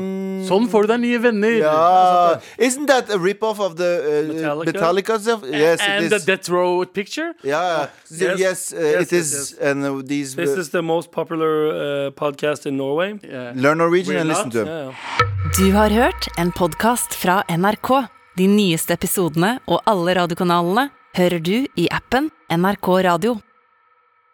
Sånn får du deg nye venner. Ja. Isn't that a rip-off of the uh, Metallica? Metallica? stuff? Yes, And it the is. death row picture. Ja, ja. Yes. Yes, uh, Yes, it yes, is. And uh, these This is the most popular uh, podcast in Norway. Yeah. Learn Norwegian We're and listen not. to them. Ja, ja. Du har hørt en podkast fra NRK. De nyeste episodene og alle radiokanalene hører du i appen NRK Radio.